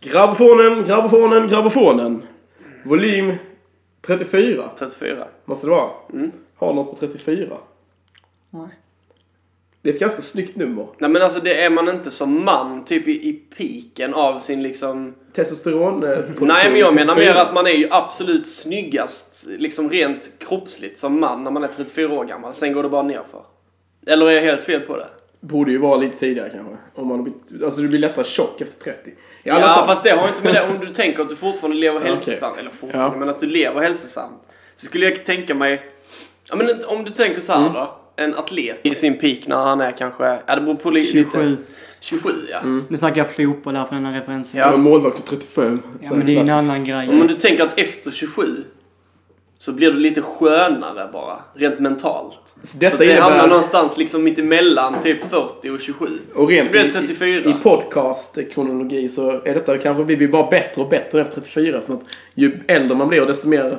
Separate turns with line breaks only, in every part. Grabbofonen, grabbofonen, grabbofonen. Volym 34
34.
måste det vara.
Mm.
Har något på 34.
Nej.
Det är ett ganska snyggt nummer.
Nej men alltså det är man inte som man typ i, i piken av sin liksom...
Testosteron. eh,
Nej men jag menar mer att man är ju absolut snyggast liksom rent kroppsligt som man när man är 34 år gammal. Sen går det bara nerför. Eller är jag helt fel på det?
Borde ju vara lite tidigare kanske. Om man har blivit, alltså du blir lättare tjock efter 30. I alla
ja
fall.
fast det har ju inte med det om du tänker att du fortfarande lever
okej.
hälsosamt. Eller fortfarande
Ja.
men att du lever hälsosamt. Så skulle jag tänka mig... Ja men om du tänker så här
Mm.
då. En atlet i sin peak när han är kanske... Ja det beror på li- lite...
27.
27 ja.
Mm.
Nu snackar jag fotboll här för den här referensen.
Ja.
Jag är målvakt och 35.
Ja,
Så
men det är ju en
klassiskt.
annan grej.
Om du tänker att efter 27 så blir du lite skönare bara, rent mentalt.
Så detta
så att det
innebär-
hamnar någonstans liksom mitt emellan typ 40 och 27.
Och rent
Det blir
i-
34.
i, i podcastkronologi så är detta kanske, vi blir bara bättre och bättre efter 34. Som att ju äldre man blir desto mer,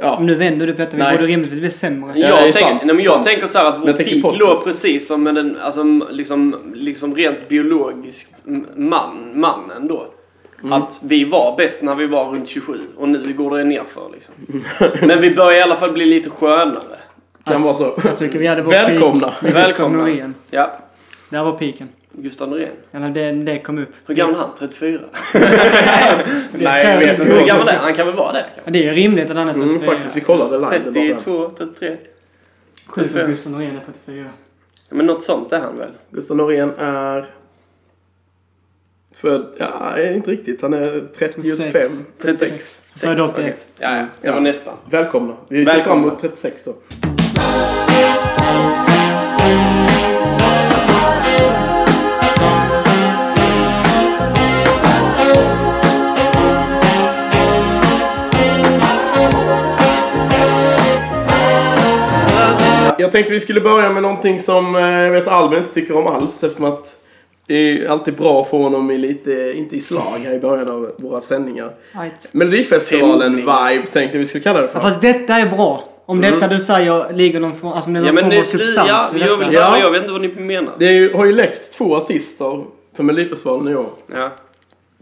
ja.
Om du vänder du på detta, vi
Nej.
borde rimligtvis bli sämre.
Ja, det
jag
är
tänker,
sant,
nej, men jag
sant.
tänker så här att
Men
vår
jag tänker
peak
podcast.
låg precis som med den, alltså, m- liksom, liksom rent biologiskt m- man, mannen då.
Mm.
Att vi var bäst när vi var runt 27 och nu går det nerför liksom. Men vi börjar i alla fall bli lite skönare.
Kan vara så.
Jag tycker vi hade vår
Välkomna.
peak med Gustav
Välkomna!
Norén.
Ja,
Där var piken.
Gustav Norén.
Eller det, det kom upp.
Hur gammal är han? 34?
Det kan jag inte.
Hur gammal är han? Han kan väl vara det?
Ja, Alltså, Det är rimligt att han är 34.
Mm, faktiskt, vi kollade live. det var bra.
32, 33?
Sjukt att
34.
Gustav Norén är 34.
Ja, men något sånt är han väl?
Gustav Norén är född, ja inte riktigt, han är 35.
36.
Född 81.
okej. Ja, ja, det var
Ja.
nästan.
Välkomna. Vi ser
Välkomna.
fram emot 36 då. Jag tänkte vi skulle börja med någonting som eh, jag vet Albin inte tycker om alls eftersom att det är ju alltid bra att få honom i lite, inte i slag här i början av våra sändningar.
Right.
Melodifestivalen-vibe tänkte vi skulle kalla det för.
Ja, fast detta är bra. Om detta du säger ligger någon form, alltså om det är någon
Mm. Ja, men
form
det
av
är slut.
substans
Ja,
i
jag,
detta.
vill,
Ja.
ja, jag vet inte vad ni menar.
Det är ju, har ju läckt två artister för Melodifestivalen i år.
Ja.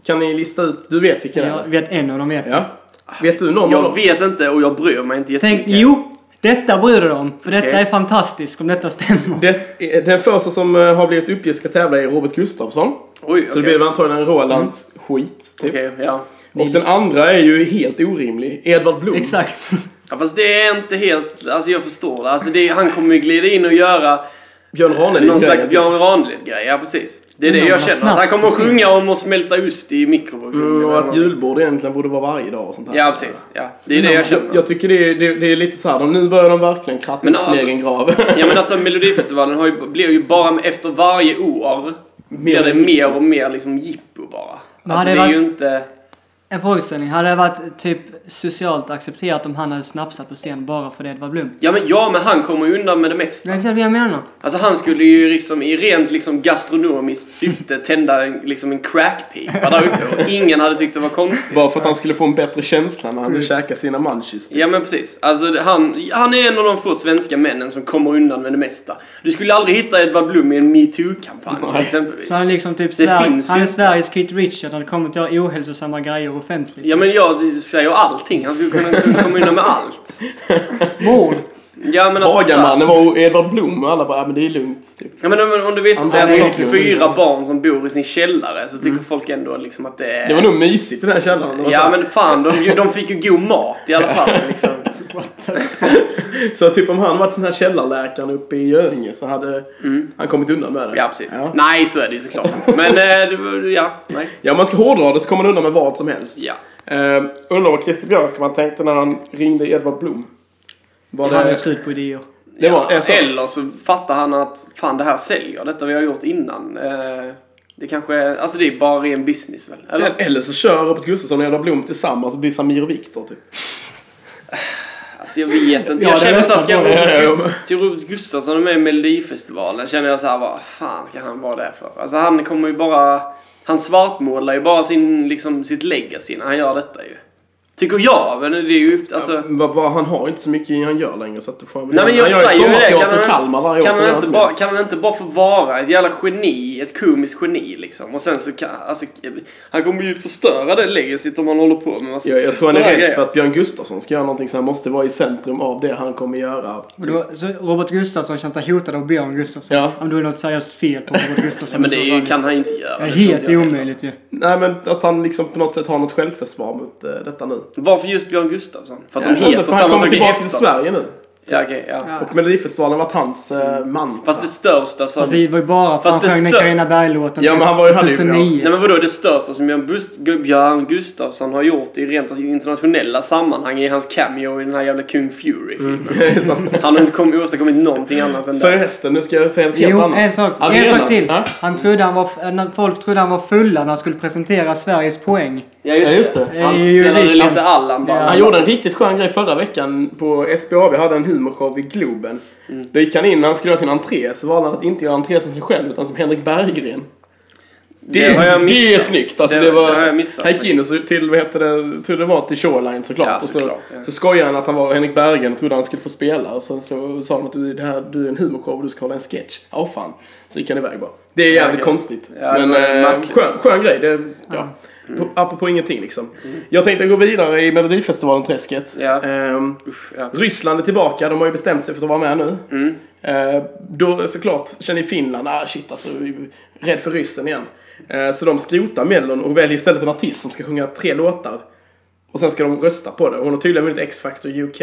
Kan ni lista ut? Du vet vilken
Jag
det
vet en av dem vet
är?
jag.
Ja. Vet du någon av
Jag
dem?
vet inte och jag bryr mig inte
Tänk,
jättemycket.
jo! Detta bryr du dig om. För detta
Okej.
är fantastiskt om detta stämmer.
Det, är- den första som eh, har blivit uppgift ska tävla är Robert Gustafsson.
Oj, okej. Mm.
Så det blir väl antagligen Rolands skit. Typ.
Okej, ja.
Och
Nils.
den andra är ju helt orimlig. Edvard Blom.
Exakt.
ja. Fast det är inte helt... Alltså jag förstår det. Alltså det, han kommer ju glida in och göra
Björn Ranelid.
någon slags Björn Ranelid-grej. Ja, precis. Det är det
Någon
jag
har
känner. Att han
snaps
kommer att
på sin-
sjunga om att smälta ost i mikrovågsugnen.
Mm, och
eller
att
någonting.
julbord egentligen borde vara varje dag och sånt här.
Ja, precis. Ja. Det är det jag
Jag,
känner.
jag tycker det är, det, det är lite såhär, de- nu börjar de verkligen kratta
Men
upp sin
alltså-
egen grav.
Ja men alltså Melodifestivalen har ju, blir ju bara efter varje år blir det mer och mer liksom jippo bara.
Men
Alltså
hade
det är
det
ju
varit-
inte...
En frågeställning. Hade det varit typ socialt accepterat om han hade snapsat på scen bara för det Edvard Blom?
Ja men, ja men han kommer ju undan med det
Det
mesta.
är exakt vad jag menar.
Alltså han skulle ju liksom i rent liksom gastronomiskt syfte tända en, liksom en crackpipa där uppe och ingen hade tyckt det var konstigt.
Bara för att han skulle få en bättre känsla när han
Typ.
hade käkat sina munchies.
Ja men precis. Alltså det- han, han är en av de få svenska männen som kommer undan med det mesta. Du skulle aldrig hitta Edvard Blom i en metoo-kampanj
Nej.
exempelvis.
Så han är liksom typ
Det
Sverige,
finns
han
ju
är
inte.
Sveriges Keith Richard när det kommer till att göra ohälsosamma grejer offentligt.
Ja men jag säger allting. Han skulle kunna komma undan med allt.
Mord!
Ja men alltså så här-
Hagamannen var o- Edvard Blom och alla bara, ja men det är lugnt. Typ.
Ja men om, om det visar sig att
Andra
det är
saker.
fyra barn som bor i sin källare så tycker folk ändå liksom att det är...
Mm. Det var nog mysigt i den här källaren. Det var så
Ja
här-
men fan, de, de fick ju god mat i alla fall liksom.
Så typ om han varit den här källarläkaren uppe i Göinge så hade han kommit undan med det.
Mm. Ja precis.
Ja.
Nej så är det ju såklart. Men eh, det var- ja, nej.
Ja, om man ska hårdra det så kommer man undan med vad som helst.
Ja.
Eh, undrar vad Christer Björkman tänkte när han ringde Edvard Blom. Var
Han är
det...
slut på idéer.
Det var- är
ja.
så.
Eller så fattar han att fan det här säljer, detta vi har gjort innan. Eh, det kanske är, alltså det är bara ren business väl? Eller?
Eller så kör Robert Gustafsson och Edvard Blom tillsammans och blir Samir och Viktor typ.
Alltså jag vet inte.
Ja,
Jag
det
känner
är
såhär,
nästan
ska
så.
Ja, ja, ja.
Robert, till Robert Gustafsson är med i Melodifestivalen känner jag såhär, vad fan ska han vara där för? Alltså han kommer ju bara, han svartmålar ju bara sin, liksom, sitt legacy när han gör detta ju. Tycker jag, men det är ju upp, alltså...
Va- va- han har inte så mycket han gör längre så att du får han väl
Nej men jag,
Han gör
säger ju det,
sommarteater i
kan
Kalmar
han,
varje år.
kan,
så gör
han
han
inte bara, kan han inte bara få vara ett jävla geni, ett komiskt geni liksom? Och sen så kan, alltså, han kommer ju förstöra det legacyt om han håller på med massa
Jag, jag tror han är
sådana
rädd
grejer.
för att Björn Gustafsson ska göra någonting så han måste vara i centrum av det han kommer göra.
Och då, så Robert Gustafsson känns sig hotad av Björn Gustafsson.
Ja.
men då är det något seriöst fel på Robert
Ja,
Gustafsson.
men det är ju,
Det
kan han inte göra.
är
det tror
helt
inte jag heller.
omöjligt ju.
Nej men att han liksom på något sätt har något självförsvar mot eh, detta nu.
Varför just Björn Gustafsson? För att
Jag
de
vet inte,
heter
för han
samma
kommer
sak i
tillbaka till
efternamn.
Sverige nu.
Ja, okej, ja.
Ja.
Och Melodifestivalen har varit hans eh, man.
Fast det största som...
Fast Alltså, det var ju bara för
Fast
att
det
han sjöng den
stör-
Carina Berg-låten
Ja, men han var ju härlig, ja.
2009.
Nej men vadå, det största som Björn, Bust, Björn Gustafsson har gjort i rent internationella sammanhang är hans cameo i den här jävla Kung Fury-filmen.
Mm. Så-
Han har inte kommit, åstadkommit någonting annat än det.
Förresten, nu ska jag säga något helt
Jo,
annat.
en sak, en
Arenan.
sak till.
Ja?
Han trodde han var, f- när folk trodde han var fulla när han skulle presentera Sveriges poäng.
Ja just,
Ja, just det.
det. Han
I
spelade
Eurovision.
lite Allan bara.
Ja.
Han gjorde en riktigt skön grej förra veckan på SBAB, hade en humorshow i Globen.
Mm.
Då gick han in när han skulle göra sin entré, så valde han att inte göra entré som sig själv utan som Henrik Berggren. Det,
har jag missat.
det är snyggt! Alltså,
Det-
det, var,
det har jag missat.
han gick in och så till, vad heter det, tror det var till Shoreline såklart.
Ja,
och så,
såklart, ja.
så skojade han att han var Henrik Berggren och trodde han skulle få spela. Och sen så sa han att du, det här, du är en humorshow och du ska hålla en sketch. Ja, fan. Så gick han iväg bara. Det är jävligt
Okej.
konstigt.
Ja, det
men
var
eh,
märkligt.
skön, skön grej. Det, ja. Mm. Apropå ingenting liksom. Jag tänkte gå vidare i Melodifestivalen-träsket.
Mm. Ja.
Ehm,
Usch, ja.
Ryssland är tillbaka, de har ju bestämt sig för att vara med nu. Eh, då såklart känner ju Finland, ah shit alltså, vi är rädd för ryssen igen. Eh, så de skrotar Mellon och väljer istället en artist som ska sjunga tre låtar. Och sen ska de rösta på det. Hon har tydligen vunnit X-Factor UK.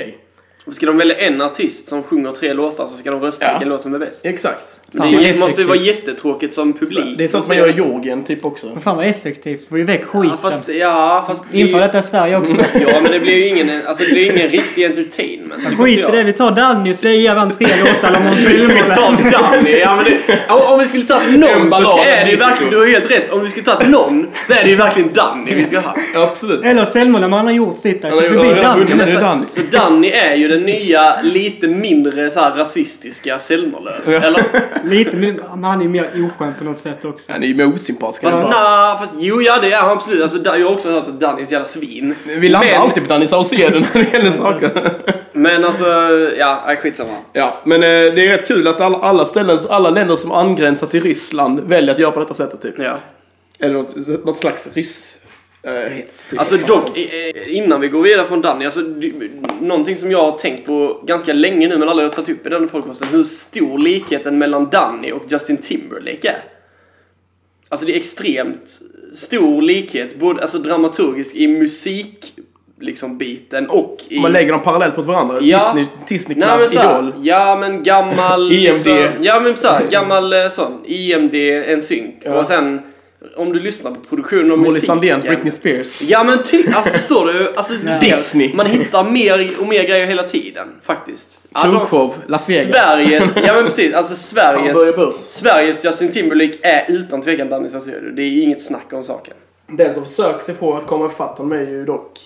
Ska de välja en artist som sjunger tre låtar så ska de rösta
Ja.
vilken låt som är bäst.
Exakt.
Men
Fan,
det
vad
är- måste ju vara
effektivt.
jättetråkigt som publik.
Det är sånt man gör i Georgien typ också.
Men fan vad effektivt. Få ju väck skiten.
Ja fast, ja, fast det Mm. är ju-
Inför detta i Sverige också.
Ja men det blir ju ingen, alltså, det blir ingen riktig entertainment. tycker
Skit
inte
i
jag.
det. Vi tar Danny och slänger han tre låtar eller Måns Zelmerlöw.
Ta Danny, ja, men det, om, om vi skulle tagit någon så
ballad,
ska- är det ju
disco.
verkligen, du har helt rätt, om vi skulle tagit någon så är det ju verkligen Danny vi ska ha.
Absolut.
Eller Zelmerlöw, men han har gjort sitt där. Så
Han har ju- han
förbi
har redan
Danny.
vunnit.
Men
är
så,
Danny.
så Danny är ju den nya lite mindre så här, rasistiska Selmerlöv. Eller?
Lite, men han är ju mer oskön på något sätt också.
Han är ju mer osympatisk.
Fast
än oss.
na, fast jo ja det är han absolut. Alltså, Dan- jag har också hört att Danny är ett jävla svin.
Vi landar alltid på Danny Saucedo när det gäller saker.
Men alltså, ja nej, skitsamma.
Ja, men eh, det är rätt kul att alla, alla ställen, alla länder som angränsar till Ryssland väljer att göra på detta sättet typ.
Ja.
Eller något, något slags ryss... eh, hets, typ.
Alltså dock, eh, eh, innan vi går vidare från Danny, alltså, du- någonting som jag har tänkt på ganska länge nu men aldrig har tagit upp i den här podcasten, hur stor likheten mellan Danny och Justin Timberlake är. Alltså det är extremt stor likhet, både alltså, dramaturgisk i musik, liksom biten och i...
Om man lägger dem parallellt mot varandra.
Ja.
Disney, Disney
Nej,
Club,
men såhär,
Idol.
Ja men gammal... liksom-
IMD.
ja men såhär, gammal eh, sån. IMD, en synk. Och sen, om du lyssnar på produktionen och
Molly
musiken.
Sandén, Britney Spears.
Ja men typ, ja, förstår du? Alltså, du
Disney.
ser, man hittar mer och mer grejer hela tiden faktiskt. Alla-
Krogshow, Las Vegas.
Sveriges, ja men precis, alltså
Hamburger Börs.
Sveriges, Sveriges Justin Timberlake är utan tvekan Danny Saucedo. Det är inget snack om saken.
Den som försöker sig på att komma ifatt honom är ju dock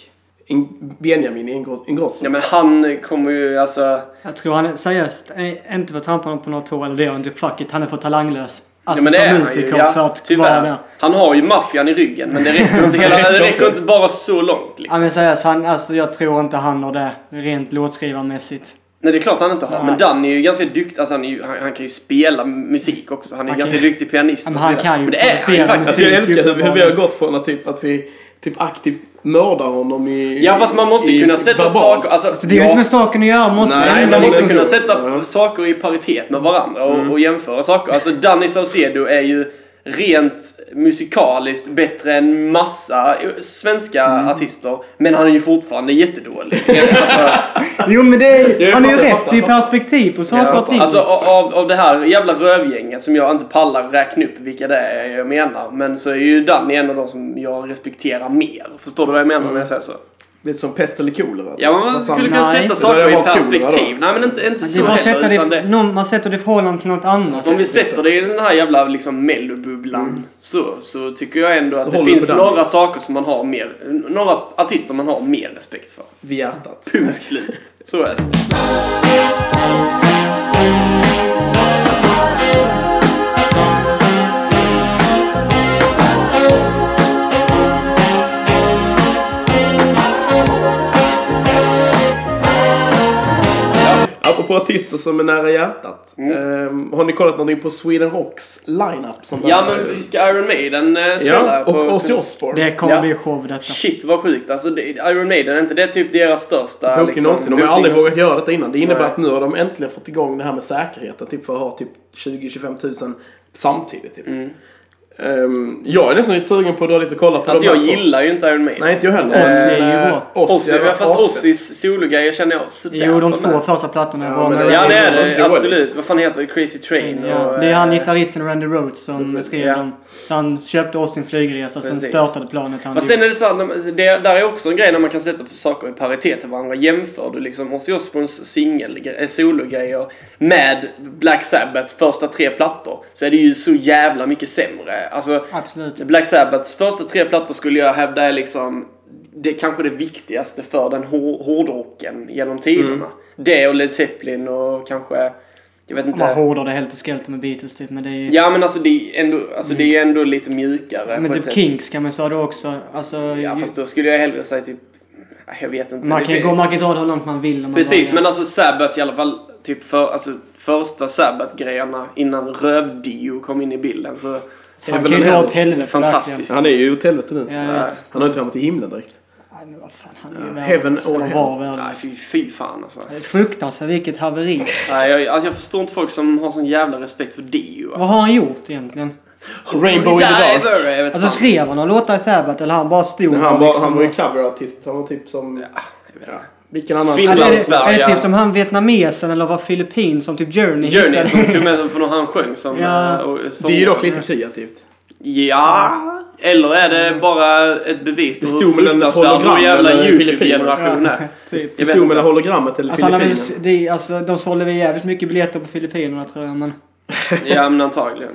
In- Benjamin Ingros- Ingrosso.
Ja men han kommer ju alltså...
Jag tror han är, seriöst, eh, inte för att trampa honom på något tå eller det gör han typ fuck it. Han är för talanglös. Alltså
ja, men det är
som
han ju,
musiker
ja,
för att vara
tyvärr.
där.
Han har ju maffian i ryggen men det räcker inte, hela, det räcker inte bara så långt
Ja
liksom.
men seriöst, han, alltså, jag tror inte han har det rent låtskrivarmässigt.
Nej det är klart han inte har.
Nej.
Men Danny är ju ganska duktig, alltså han, är ju, han, han kan ju spela musik också. Han är
Han
ganska
kan-
duktig pianist
Ja,
och
men
så
han
vidare.
kan ju
Men det är han ju
producera
faktiskt.
Alltså jag älskar hur, hur vi har
uppenbarligen.
gått från att typ, att vi typ aktivt mördar honom i...
Ja fast man måste ju
i-
kunna sätta
verbalt.
saker... Alltså,
Så det är ju
ja,
inte med saken att göra. Man måste
Nej,
Nej,
men
man måste
liksom-
kunna sätta
Ja.
saker i paritet med varandra
Mm.
och, och jämföra saker. Alltså Danny Saucedo är ju rent musikaliskt bättre än massa eh, svenska
Mm.
artister. Men han är ju fortfarande jättedålig. alltså,
Jo men det är,
Jag
han är ju
fattar, jag
rätt. Det är ju
fattar.
perspektiv på saker
Ja,
och ting.
alltså a- av, av det här jävla rövgänget som jag inte pallar räkna upp vilka det är jag menar. Men så är ju Danny en av de som jag respekterar mer. Förstår du vad jag menar när jag säger så?
Det är som pest eller kolera.
Ja, man
Mm. Fast
skulle
han-
kunna sätta
nej.
Det där
saker i
var kul,
perspektiv.
vadå?
Nej men inte, inte
det är
så
bara att sätta
heller.
det,
Utan det,
någon, man sätter det i förhållande till något annat.
Om vi sätter det i den här jävla liksom mellobubblan så, så tycker jag ändå att det
Mm. håller vi
finns
på den.
några saker som man har mer, några artister man har mer respekt för.
Vid hjärtat.
Punkt slut. Så är det.
på artister som är nära hjärtat. Ehm, har ni kollat någonting på Sweden Rocks lineup? Som
Ja
börjar-
men ska Iron Maiden eh, spela?
Ja, och Ozzy Osbourne.
Det kommer
Ja.
bli show detta.
Shit vad sjukt alltså. det- Iron Maiden, är inte det typ deras största? liksom,
Boken någonsin. De har aldrig
någonsin?
vågat göra detta innan. Det innebär
Nej.
att nu har de äntligen fått igång det här med säkerheten. Typ för att ha typ 20-25 000 samtidigt. Typ.
Mm.
Ehm, jag är nästan lite sugen på att dra dit och kolla på
Alltså
de
jag
här två.
gillar ju inte Iron Maiden.
Nej, inte jag heller.
Ozzy
Men,
är ju
eh,
bra.
Ozzy
Ozzy,
har
ja,
varit
fast
asfett.
Ozzys sologrejer känner jag sådär
Jo, de
för
två
mig.
första plattorna är
Ja,
bra.
men
men
det-
Ja det är
Ozzy
det,
dåligt.
absolut. Vad fan heter det? Crazy Train
Ja,
och...
det är
eh,
han gitarristen Randy Rhoads som
Precis,
skrev
ja.
dem. Så han köpte oss sin flygresa, sen
Precis.
störtade planet. Han
Men sen är det så här, när man- det, där är också en grej när man kan sätta saker i paritet till varandra. Jämför du liksom Ozzy Osbournes singel, eh, sologrejer med Black Sabbaths första tre plattor så är det ju så jävla mycket sämre. Alltså,
Absolut.
Black Sabbaths första tre plattor skulle jag hävda är liksom det är kanske det viktigaste för den hår, hårdrocken genom tiderna.
Mm.
Det och Led Zeppelin och kanske, jag vet
De bara
inte.
hårdade helt och skelter med Beatles typ. Men det är ju...
Ja men alltså det är ändå, alltså, det är ändå lite mjukare
Mm. men
på ett
typ
sätt.
Kinks kan man säga då också. Alltså,
Ja
ju-
fast då skulle jag hellre säga typ, jag vet inte.
man, kan
Det-
ju gå, man kan ju dra det hur långt man vill. Om man
Precis,
bara-
men alltså Sabbath i alla fall, typ för, alltså, första Sabbath-grejerna innan rövdio kom in i bilden. Så,
Han
väl
kan ju
en
dra
hel-
åt helvete
Fantastiskt.
verkligen.
Han är ju åt helvete nu.
Ja, jag vet.
Han har inte hamnat i himlen direkt.
Nej, men vad fan, han är ju
Heaven
värdelös.
or
Han
hell.
var
nej,
värdelös.
fy, fy fan alltså.
Fruktansvärt, vilket haveri.
Nej, jag, alltså, jag förstår inte folk som har sån jävla respekt för dio.
Vad
Alltså.
har han gjort egentligen?
Rainbow in the dark.
Diver, jag vet
Alltså
fan.
skrev han några låtar i Sabbath eller han bara stod
Han
där
var,
liksom
han var ju
och-
coverartist. Han var typ som... Ja, vilken annan...
Film-
Eller är det,
Finlandsfärja.
är det typ som han vietnamesen eller var filipin som typ Journey
Journey,
hittade?
som tog med den från när han sjöng som...
Ja.
eh, och- som
Det är ju dock lite kreativt.
Ja. Eller är det bara ett bevis på
Det stod mellan ett
vår
hologram
jävla
eller
YouTube-generation är?
Ja, typ.
Jag
Det
vet
stod
inte.
mellan hologrammet eller
Alltså, han har väl,
Filippinerna.
de, alltså, de sålde väl jävligt mycket biljetter på Filippinerna tror jag. Men
Ja, men antagligen.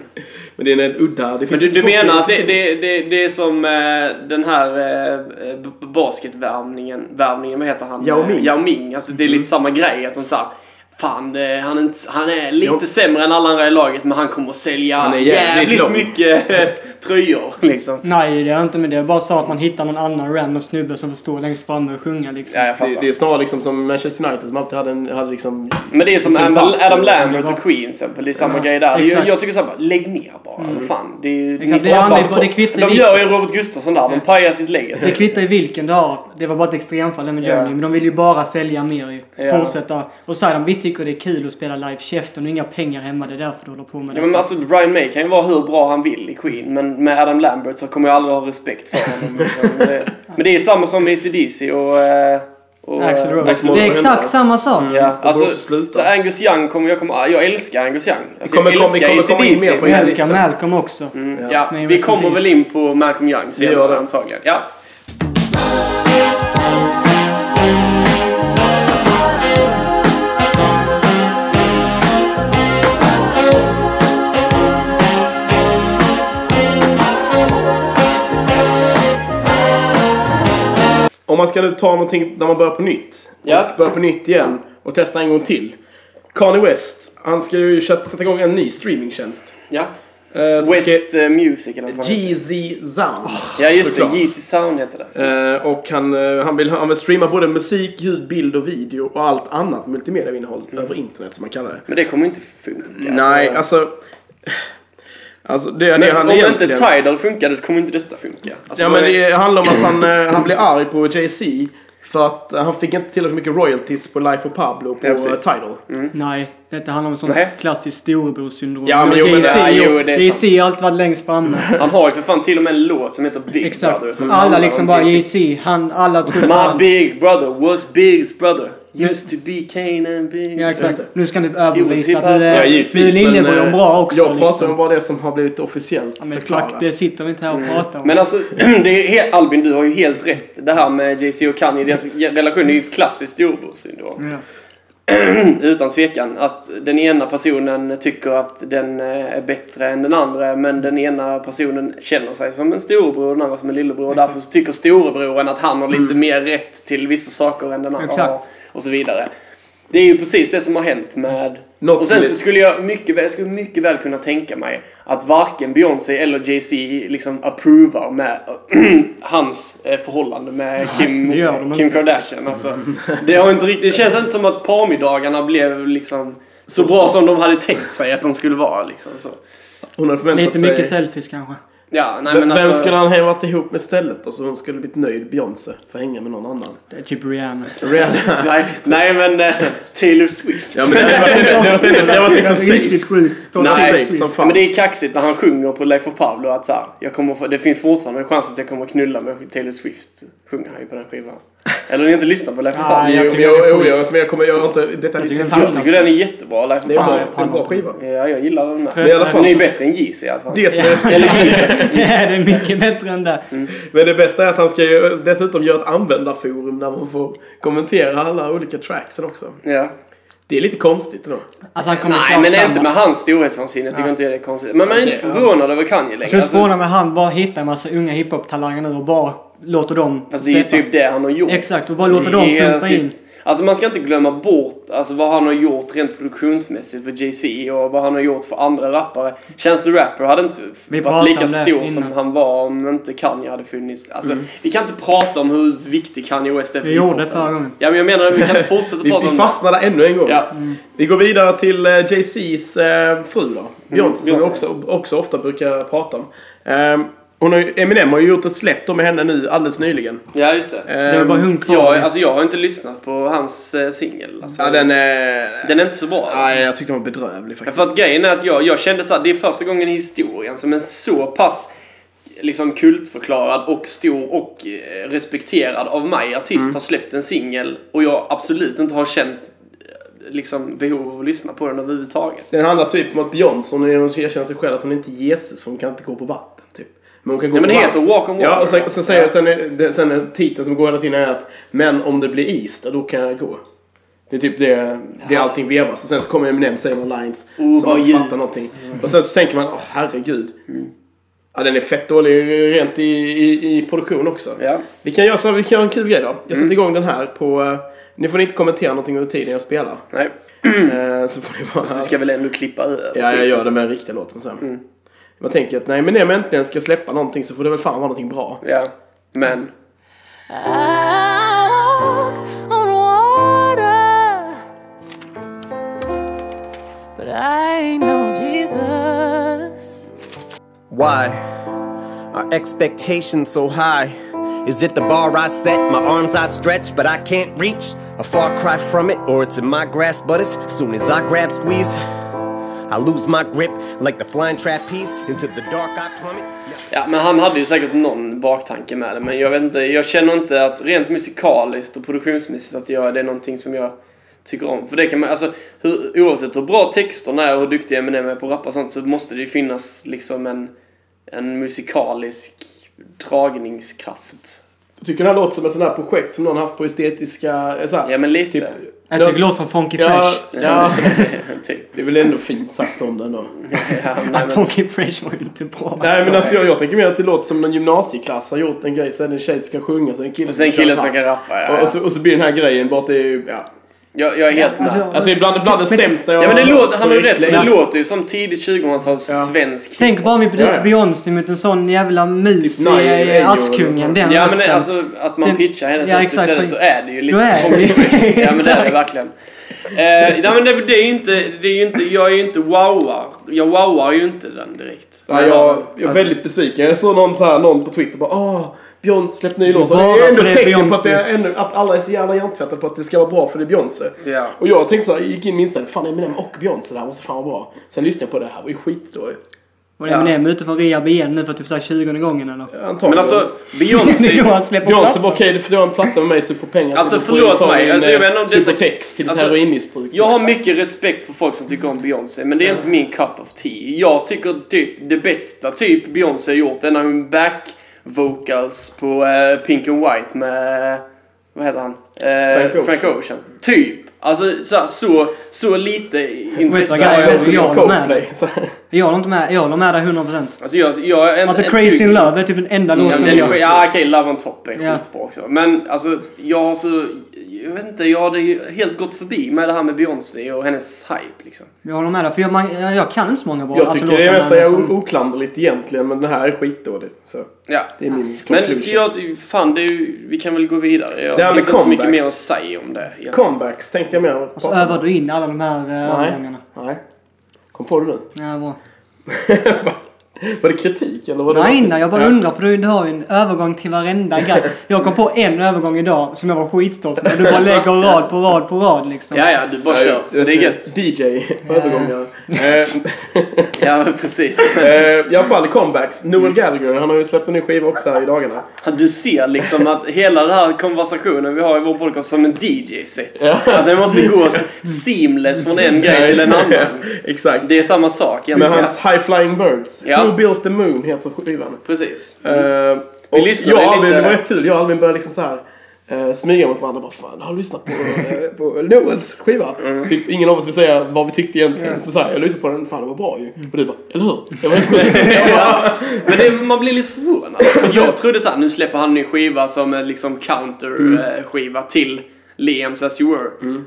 Men det är en udda... Det
Men
finns
du, du
två-
menar att det, det, det, det är som eh, den här eh, b- b- basketvärmningen, värmningen, vad heter han?
Yao Ming. Mm.
Eh, Yao Ming. Alltså det är lite samma grej att de såhär Fan, eh, han är, inte, han är lite
Jo.
sämre än alla andra i laget men han kommer att sälja
Han är jävligt
jävligt
lång."
mycket eh, tröjor liksom.
nej, det är inte med det. Jag bara sa att man hittar någon annan random snubbe som får stå längst framme och sjunga liksom.
Ja, jag
Det,
fattar.
det är snarare liksom som Manchester United som alltid hade, en, hade liksom...
men det är som
det är
Adam,
bara-
Adam Lambert
det är
och Queen till exempel. Det är samma
Ja,
grej där. Det är ju-
exakt.
jag tycker såhär, bara, lägg ner bara.
Mm.
Vad Fan, det är ju...
Exakt, det
ni
är
sabbar
aldrig-
topp.
det kvittar
De
vilket-
gör ju Robert Gustafsson där. De pajar sitt legacy.
Det kvittar ju vilken du har. Det var bara ett extremfall det med
Ja.
Journey. Men de vill ju bara sälja mer ju.
Ja.
Fortsätta. Och Saddam, vi tycker det är kul att spela live. Käften, du har inga pengar hemma. Det är därför du håller på med
Ja,
det.
men alltså Brian May kan ju vara hur bra han vill i Queen, men med Adam Lambert så kommer jag aldrig ha respekt för honom. liksom. Det- men det är samma som med ACDC och... eh, och eh,
Axl
Axl
Rose.
Rose.
Det är exakt samma sak.
Ja,
Och
alltså,
borde sluta.
så Angus Young kommer jag kommer... Jag älskar Angus Young. Alltså,
kommer-
jag älskar
vi kommer komma in
AC/DC,
mer på
men-
Jag
Ja,
älskar
exakt.
Malcolm också.
liksom. Mm,
Ja.
ja,
Men
vi
rest in
kommer väl
peace.
in på Malcolm Young
gör
senare
det.
antagligen. Ja.
Om man ska nu ta någonting när man börjar på nytt.
Ja.
Och börjar på nytt igen och testa en gång till. Kanye West, han ska ju köta- sätta igång en ny streamingtjänst.
ja.
Eh, som
West eh, Music eller vad
ska-
fan heter
GZ Sound.
det? Ja, just
såklart.
det. Yeezy Sound heter det.
Eh, och han, eh, han, vill, han vill streama både musik, ljud, bild och video och allt annat multimediainnehåll
Mm.
över internet som man kallar det.
Men det kommer ju inte funka.
Nej, alltså... Alltså det, det
Men
han
om
egentligen...
inte Tidal funkade så kommer inte detta funka. Alltså,
Ja
vad
men
är-
det handlar om att han, eh, han blev arg på Jay-Z för att eh, han fick inte tillräckligt mycket royalties på Life of Pablo på
Ja,
eh,
precis.
Tidal.
Nej, detta handlar om sån
Nej.
klassisk storebrorssyndrom.
Ja, men jo, men
DC,
det- jo, det är
DC har alltid varit längst framme.
Han har ju för fan till och med en låt som heter Big
Exakt.
Brother. Som
Alla
handlar
liksom
om
bara
Jay-Z.
JC, han, alla tror
My
han.
big brother was Big's brother. Used to be Kane and Big.
Ja exakt. Nu ska du överbevisa
Jo,
att du
Ja,
är du är linjebror
eh,
bra också.
Jag pratar
liksom.
om bara det som har blivit officiellt
Ja, men
förklarat.
klack, det sitter vi inte här och pratar om.
Men alltså, det är helt, Albin du har ju helt rätt. Det här med JC och Kanye, deras relation är ju ett klassiskt storebrorssyndrom.
Ja.
Utan tvekan. Att den ena personen tycker att den eh, är bättre än den andra men den ena personen känner sig som en storebror och den andra som en lillebror. Och därför så tycker storebroren att han har lite
Mm.
mer rätt till vissa saker än den andra
Exakt.
har. Och så vidare. Det är ju precis det som har hänt med
Något
Och
som
sen
är-
så skulle jag mycket väl, jag skulle mycket väl kunna tänka mig att varken Beyoncé eller Jay-Z liksom approvar med hans eh, förhållande med Kim,
det gör de
Kim
inte.
Kardashian. Alltså,
Mm.
det, har inte riktigt, det känns inte som att parmiddagarna blev liksom så bra som de hade tänkt sig att de skulle vara. Liksom, så.
hon hade förväntat
Lite
sig.
mycket selfies kanske.
Ja, nej,
Vem-
men alltså,
Vem skulle han ha varit ihop med istället då? Så hon skulle blivit nöjd, Beyoncé, för att hänga med någon annan.
Det är typ Rihanna.
Rihanna.
nej, nej, men eh, Taylor Swift.
Ja, men det hade varit- det hade varit- det hade varit liksom safe.
sjukt.
Det hade varit
Nej,
safe som
Ja,
fan.
men det är kaxigt när han sjunger på Life of Pablo att så här, jag kommer få, det finns fortfarande en chans att jag kommer knulla med Taylor Swift. Sjunger han ju på den skivan. Eller har ni inte lyssnat på Life of
Ah,
Pablo?
Jo,
jag
men
tycker det är
jag,
skit.
jo, jag, men jag kommer göra inte detta
Jag tycker
lite
det är
Jag tycker den är jättebra, Life
Det är
of
bra,
Pablo.
det är en bra skiva.
Ja, jag gillar den med.
Men
i alla fall-
Den är ju bättre än Yeezy i alla fall.
Det som är,
Eller Jesus. Mm.
det är mycket bättre än det.
men det bästa är att han ska ju dessutom göra ett användarforum där man får kommentera alla olika tracksen också.
Ja.
Det är lite konstigt då.
Alltså han kommer
Nej,
snart
men
samma.
inte med hans storhetsvansinne. Tycker
Ja.
inte jag det är konstigt. Men man är inte
Okej, ja.
förvånad över Kanye
Jag
längre.
skulle inte
Alltså,
förvåna mig om han bara hittar en massa unga hiphop-talanger nu och bara låter dem
fast det är ju
steppa.
typ det han har gjort.
Exakt, och bara låter dem
Hela
pumpa
sitt-
in.
Alltså man ska inte glömma bort alltså, vad han har gjort rent produktionsmässigt för Jay-Z och vad han har gjort för andra rappare. Känns the Rapper hade inte f-
Vi
varit
pratade
lika
om det
stor
innan. Mm.
som han var om inte Kanye hade funnits. Alltså, Vi kan inte prata om hur viktig Kanye West är för
Vi gjorde
hiphopen.
förra gången.
Ja men jag menar vi kan inte fortsätta
Vi,
prata
vi
om det.
fastnade ännu en gång.
Ja.
Vi går vidare till eh, Jay-Z's eh, fru då. Beyoncé, som vi
Beyoncé.
också, också ofta brukar prata om. Ehm, hon har ju, Eminem har ju gjort ett släpp då med henne nu alldeles nyligen.
ja just det.
Det var
Ehm,
bara hon Eh, kvar.
Jag, alltså, jag har inte lyssnat på hans eh, singel. Alltså.
Ja, den är...
Den är inte så bra.
Nej, jag tyckte den var bedrövlig
Ja,
faktiskt.
För att grejen är att jag, jag kände så här, det är första gången i historien som en så pass liksom kultförklarad och stor och eh, respekterad av mig artist
Mm.
har släppt en singel och jag absolut inte har känt eh, liksom behov av att lyssna på den överhuvudtaget.
Den handlar typ om att Beyoncé, hon är- hon erkänner sig själv att hon inte är Jesus för hon kan inte gå på vatten. Typ. Men hon kan gå
Nej
på
men det heter
vatten.
Walk on Water.
Ja, och sen, sen säger
Ja.
sen, är- det- sen är titeln som går hela tiden är att Men om det blir is, då kan jag gå. Det är typ det, det är allting vevas. Och sen så kommer Eminem säger några lines.
Oh,
så
vad
man
djupt.
fattar någonting. Och sen så tänker man, åh herregud. Ja, den är fett dålig rent i, i, i produktion också.
Ja. Mm.
Vi kan göra så här, vi kan göra en kul grej då. Jag sätter igång den här på... eh, Nu får ni inte kommentera någonting under tiden jag spelar.
Nej,
Eh, så får ni bara...
så ska väl ändå klippa över.
Ja, jag gör det med den riktiga låten sen.
Mm.
Man tänker att nej, men när jag äntligen ska släppa någonting så får det väl fan vara någonting bra.
Ja, men.
I walk on water, but I ain't no Jesus.
Why are expectations so high? Is it the bar I set? My arms I stretch, but I can't reach. A far cry from it, or it's in my grasp, but as soon as I grab, squeeze, I lose my grip like the flying trapeze. Into the dark I plummet.
Ja, men han hade ju säkert någon baktanke med det, men jag vet inte. Jag känner inte att rent musikaliskt och produktionsmässigt att jag, det är någonting som jag tycker om. För det kan man, alltså, hur, oavsett hur bra texterna är och hur duktig Eminem är på att rappa och sånt så måste det ju finnas liksom en, en musikalisk dragningskraft.
Jag tycker den här låter som ett sånt här projekt som någon haft på estetiska... eh, Så här.
Ja, men lite.
Typ,
Jag tycker det låter som Funky
ja,
Fresh.
ja,
typ.
det är väl ändå fint sagt om den då.
Mm. Ja, nej, men,
Funky Fresh var ju inte bra.
Nej men alltså jag, jag tänker mer att det låter som en gymnasieklass har gjort en grej. Sen är det en tjej som kan sjunga, sen en kille
och sen
kan
killen
köra
som kan
rap.
rappa.
och,
Ja,
och, så, och så blir den här grejen bara att det är... Ja.
jag, jag är helt med.
Alltså,
Alltså ibland, ibland det sämsta jag
Ja men det
har
låter,
hört
han har
på
ju rätt för det
länge.
låter ju som tidigt 2000-tals
Ja.
svensk
Tänk bara om vi bytte
Ja,
ut
ja.
Beyoncé mot en sån jävla mus
Typ Nile
i
eller
Askungen. Den
Ja men
rösten.
alltså att man
Den-
pitchar henne
Ja,
så
exakt,
istället
så-
så är det ju
Då
lite
är
som
det ju-
Ja men det är det
Exakt.
verkligen. Eh, nej men det, det är ju inte, det är ju inte, jag är ju inte wowar. Jag wowar ju inte den direkt. Alltså,
Ja, jag, jag är väldigt besviken. Jag såg någon, så här, någon på Twitter bara Åh, Beyoncé släppte ny låt. Och det
bara
är ändå
för det är
tecken på att,
Beyoncé.
det är ännu, att alla är så jävla hjärntvättade på att det ska vara bra för det är Beyoncé.
Ja.
Och jag tänkte så här, gick in med inställning, fan Eminem och Beyoncé, det här måste fan vara bra. Sen lyssnade jag på det här, och det var ju skitdåligt.
Var det Eminem ute från rehab igen nu för typ såhär 20 gången eller?
Antagligen.
Men alltså
Det är då
Beyoncé.
han släpper
Beyoncé
plattan.
bara okej, du får göra en platta med mig så du får pengar
Alltså,
du får
förlåt
antagligen
mig. Alltså, jag vet inte om
en
detta-
supertext till
Alltså,
ditt heroinmissbruk.
Jag har mycket respekt för folk som tycker om Beyoncé men det är inte min cup of tea. Jag tycker typ det bästa typ Beyoncé har gjort är när hon back vocals på eh, Pink and White med vad heter han? Eh,
Frank Ocean.
Frank Ocean. Typ. Alltså så, här, så, så lite intresse.
vad gammal
har jag.
är du? jag håller med.
Coldplay, så här.
Jag håller inte med, jag håller med där 100%.
Alltså jag, jag är inte...
Alltså
ett
Crazy
dugg-
in Love är typ den enda
Ja,
låten
men den är, ah,
jag
skit- ja okej, Love on Top är
Ja.
skitbra också. Men alltså jag har så... jag vet inte, jag hade ju helt gått förbi med det här med Beyoncé och hennes hype liksom.
Jag håller med dig, för jag, man, jag jag kan inte så många bra Alltså,
Jag tycker det är
låtar,
mest säga
men som-
o- oklanderligt egentligen, men det här är skitdåligt. Så.
Ja.
Det är min
Men
conclusion.
ska jag, fan det är ju, vi kan väl gå vidare. Jag,
Det
det
här
finns
med
inte så mycket
comebacks.
mer att säga om det. egentligen.
Comebacks tänkte jag mer
Och så övar du in alla de här eh,
Nej.
övergångarna.
Nej. Kom på det nu.
Ja, bra.
var det kritik eller? Var det
Nej, nej, jag bara
Ja.
undrar för du, du har ju en övergång till varenda grej. Jag kom på en övergång idag som jag var skitstolt över. Du bara lägger rad på rad på rad liksom.
Ja, ja, du bara kör.
Ja,
det är gött.
DJ, övergångar. Eh,
Ja, men precis.
Eh, I alla fall comebacks. Noel Gallagher, han har ju släppt en ny skiva också här i dagarna.
Du ser liksom att hela den här konversationen vi har i vår podcast som en DJ-set. Att den måste gå seamless från en grej till en annan.
Exakt.
Det är samma sak
Med
egentligen.
hans High Flying Birds.
Ja.
Who Built The Moon heter skivan.
Precis.
Eh, och
lyssnade
jag och Albin,
lite-
det var rätt kul. Jag och Albin började liksom så här. eh, smyga mot varandra bara fan, har du lyssnat på, eh, på Noels skiva? Så ingen av oss vill säga vad vi tyckte egentligen. Så sa jag, jag lyssnade på den, fan den var bra ju. Och du bara, eller hur? Det var helt sjukt. Jag bara,
Men det, man blir lite förvånad. För jag trodde såhär, nu släpper han en ny skiva som är liksom counter-skiva
Mm.
till Liams As You Were.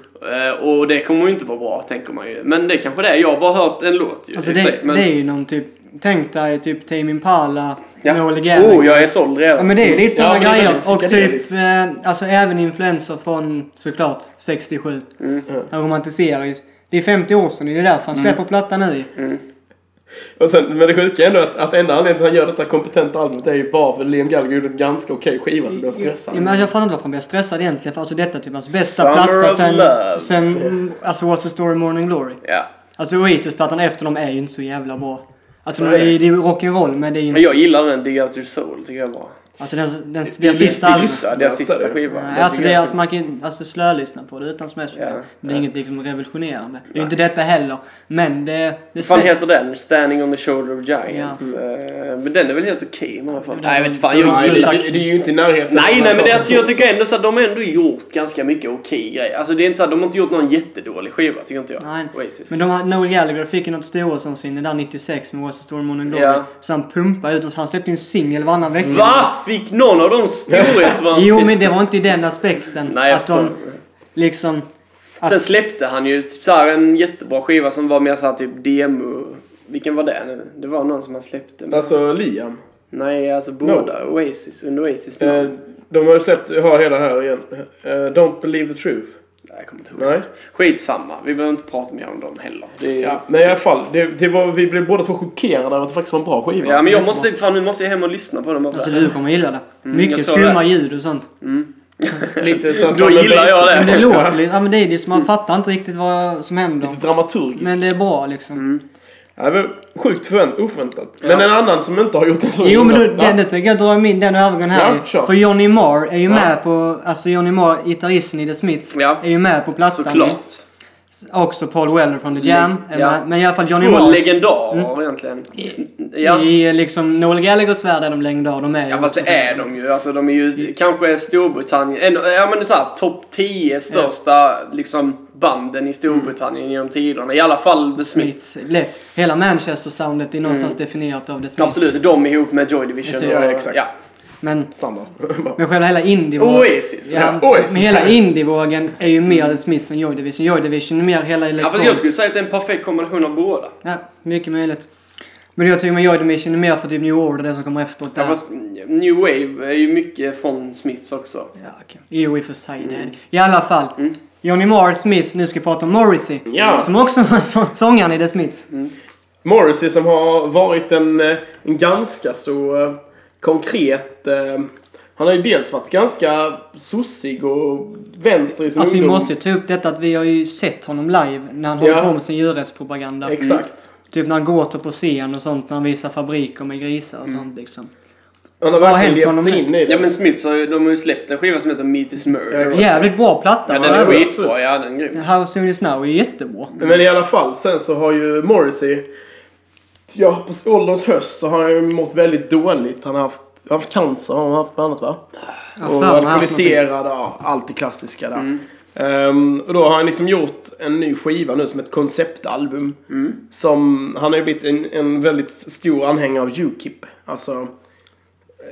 Eh, Och det kommer ju inte vara bra, tänker man ju. Men det kanske det är. Jag har bara hört en låt ju.
Alltså
i och för
det,
sig. men...
det är ju någon typ, tänk dig typ Tame Impala,
Ja.
Noel Gallagher.
Oh, jag är såld redan.
Ja men det är
Ja,
lite sådana
men det är väldigt
grejer. Och typ,
psykedeliskt.
eh, alltså även influenser från såklart 67. Mm. Romantiseras. Det är 50 år sedan, det är därför han
Mm.
släpper plattan nu
Och sen, men det sjuka är ändå att, att enda anledningen till att han gör detta kompetenta albumet är ju bara för att Liam Gallagher gjorde ett ganska okej skiva så blev han stressad.
Ja, men jag fattar inte varför han blir stressad egentligen. För alltså detta är typ hans bästa
Summer
platta
of love.
sen, sen mm, alltså What's the story Morning Glory.
Ja.
Alltså Oasis-plattan efter dem är ju inte så jävla bra. Alltså
Nej.
det är, det är ju rock'n'roll men det är ju inte...
Jag gillar den Dig Out Your Soul, tycker jag är bra.
Alltså den, den,
Det är
den sista
sista,
albumet.
sista, deras sista skiva.
Nej,
Den
Alltså,
tycker
det är,
jag
alltså man
faktiskt-
kan ju alltså, slölyssna på det utan smäsh.
Ja,
det är inget liksom revolutionerande. Det är ju inte detta heller. Men det... det
fan
smä-
heter den? Standing on the shoulder of giants. Eh, Men den är väl helt okej i alla fall. Nej, jag vet fan. Jag
Nej,
gillar
det,
tack.
det, det är ju inte i närheten. av
Nej,
den
nej, men det,
första
alltså, jag
sorten.
tycker ändå så att de har ändå gjort ganska mycket okej grejer. Alltså det är inte så att de har inte gjort någon jättedålig skiva, tycker inte jag.
Nej.
Oasis.
Men de, har- Noel Gallagher fick ju något storhetsvansinne där 96 med What's the Storm on and Glory.
Ja.
Så han pumpade ut och han släppte ju en singel varannan vecka.
Va? Fick någon av dem storhetsvansinne?
Jo men Alltså, det var inte i den aspekten.
Nej, jag
att de
förstår.
liksom...
Sen släppte han ju så här en jättebra skiva som var mer så här typ demo. Vilken var det nu? Det var någon som han släppte.
Alltså Liam.
Nej, alltså båda. Oasis. Under Oasis namn.
Eh, de har ju släppt, jag har hela här igen. Eh, don't believe the truth.
Nej, jag kommer inte ihåg.
Nej.
Skitsamma. Vi behöver inte prata mer om dem heller. Det är...
Ja, nej i alla fall. Det, det var, vi blev båda två chockerade över att det faktiskt var en bra skiva.
Ja, men jag
Jättebra.
måste, fan, nu måste jag hem och lyssna på dem.
Alltså du kommer gilla det.
Mm, jag
Mycket
tror det.
skumma ljud och sånt.
Lite så att
Då
man blir
gillar jag
basic.
Men det
Ja.
låter lite... Ja men det är det som
Mm.
man fattar inte riktigt vad som händer.
Lite dramaturgiskt.
Men det är bra liksom.
Mm.
ja, men sjukt förvänt, oväntat. Men en annan som inte har gjort en så
Jo men
himla-
du, den,
ja.
nu tänker jag dra min den övergången här
Ja,
ju.
kör.
För Johnny Marr är ju
Ja.
med på, alltså Johnny Marr, gitarristen i The Smiths,
Ja.
är ju med på plattan.
Såklart. Mm.
Också Paul Weller från The Jam är
ja.
med. Men i alla fall Johnny
Två
Marr.
legendarer egentligen. Ja.
I liksom Noel Gallaghers värld är de legendarer, de är ju
ja, fast
också-
det är de ju. Alltså de är ju kanske Storbritannien. En, ja men det är så här topp 10 största liksom banden i Storbritannien genom tiderna. I alla fall The Smiths. Mm.
Smiths. Lätt. Hela Manchester-soundet är någonstans definierat av The Smiths.
Absolut, de ihop med Joy Division.
Jag tror-
Ja, exakt.
Ja.
Men,
Standard.
men själva hela indievågen.
Oasis.
Ja,
Ja, Oasis.
men hela indievågen är ju mer The Smiths än Joy Division. Joy Division är mer
Mm. Ja,
hela elektronik.
fast jag skulle säga att det är en perfekt kombination av båda.
Ja, mycket möjligt. Men jag tycker med Joy Division är mer för typ New Order, det som kommer efteråt där.
Ja, fast New Wave är ju mycket från Smiths också.
Ja, okej. Jo, i och för sig. det är
Mm.
det. I alla fall. Johnny Marr Smith, nu ska vi prata om Morrissey.
Ja.
Som också var så- sångaren i The Smiths.
Mm.
Morrissey som har varit en, eh, en ganska så eh, konkret... eh, Han har ju dels varit ganska sossig och vänster i sin
Mm.
Alltså vi
ungdom.
måste ju ta upp detta att vi har ju sett honom live när han håller
Ja.
på med sin djurrättspropaganda.
Exakt.
Typ när han gråter på scen och sånt, när han visar fabriker med grisar
Mm.
och sånt liksom.
Han har
Vad har
verkligen
hänt med
levt
honom
sig
nu?
in i det.
Ja men Smiths har ju, de har ju släppt en skiva som heter Meat is Murder.
Ja,
Jävligt bra platta!
Ja,
va?
den är
Ja,
skitbra,
absolut.
ja den är grym.
How soon is now är jättebra.
Men i alla fall, sen så har ju Morrissey... Ja, på ålderns höst så har han ju mått väldigt dåligt. Han har haft, han har haft cancer, har han haft bland annat va?
Ja,
och
fan, han har haft Mm.
alkoholiserad, ja, allt det klassiska där. Ehm, och då har han liksom gjort en ny skiva nu som ett konceptalbum.
Mm.
Som, han har ju blivit en, en väldigt stor anhängare av Ukip. Alltså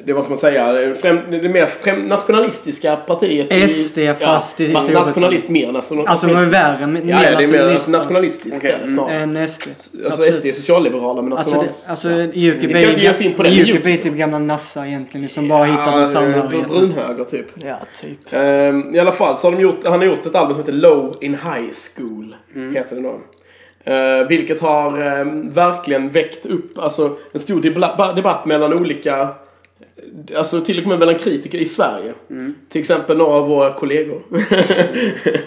det vad ska man säga, främ, det mer främ, nationalistiska partiet. i-
SD, fast i
fast
Storbritannien.
nationalist mer nästan.
Alltså de är värre. Mer
Ja, ja, det är mer
nationalister
nationalistiskt
Okej,
är det
mm.
snarare.
Än SD.
Alltså
Ehm, Absolut.
SD är socialliberala men
Alltså, det,
nationals-
Eh, alltså
ja.
UKIP
Vi ska inte ge oss in på det,
är
men
ju- UKIP
UKIP
är typ gamla NASA egentligen som bara hittar på
eh,
samhörigheten.
Brunhöger typ.
Ja, typ.
Ehm, I alla fall så har de gjort, han har gjort ett album som heter Low in High School.
Mm.
Heter det då. Eh, vilket har ehm, verkligen väckt upp alltså, en stor debla- debatt mellan olika, alltså till och med mellan kritiker i Sverige. Till exempel några av våra kollegor.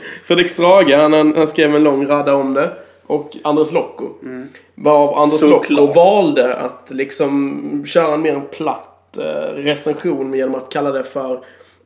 Fredrik Strage, han, han skrev en lång radda om det. Och Anders Locko. Varav Anders
Såklart.
Locko valde att liksom köra en mer en platt eh, recension genom att kalla det för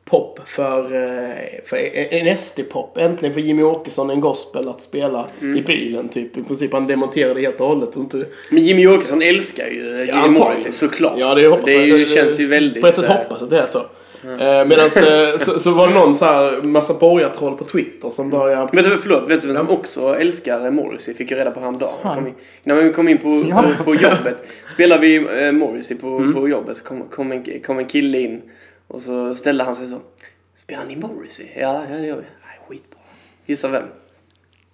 pop för, eh, för en SD-pop. Äntligen får Jimmy Åkesson en gospel att spela i bilen typ. I princip han demonterade det helt och hållet. Och inte,
Men Jimmy Åkesson älskar ju eh, Jimmy Morrissey såklart.
Ja, det hoppas
det, är
jag.
ju- känns ju väldigt...
På ett sätt
eh,
hoppas att det är så. Mm. Medan så, så var det någon så här massa borgartroll på Twitter som började...
Vet du, förlåt, vet du vem som också älskar Morrissey? Fick jag reda på häromdagen. Han. Kom in, när vi kom in på,
Ja.
på, på jobbet. Spelade vi eh, Morrissey på,
Mm.
på jobbet så kom, kom, en, kom en kille in och så ställde han sig så. Spelar ni Morrissey? Ja, ja det gör vi. Nej, skitbra. Gissa vem?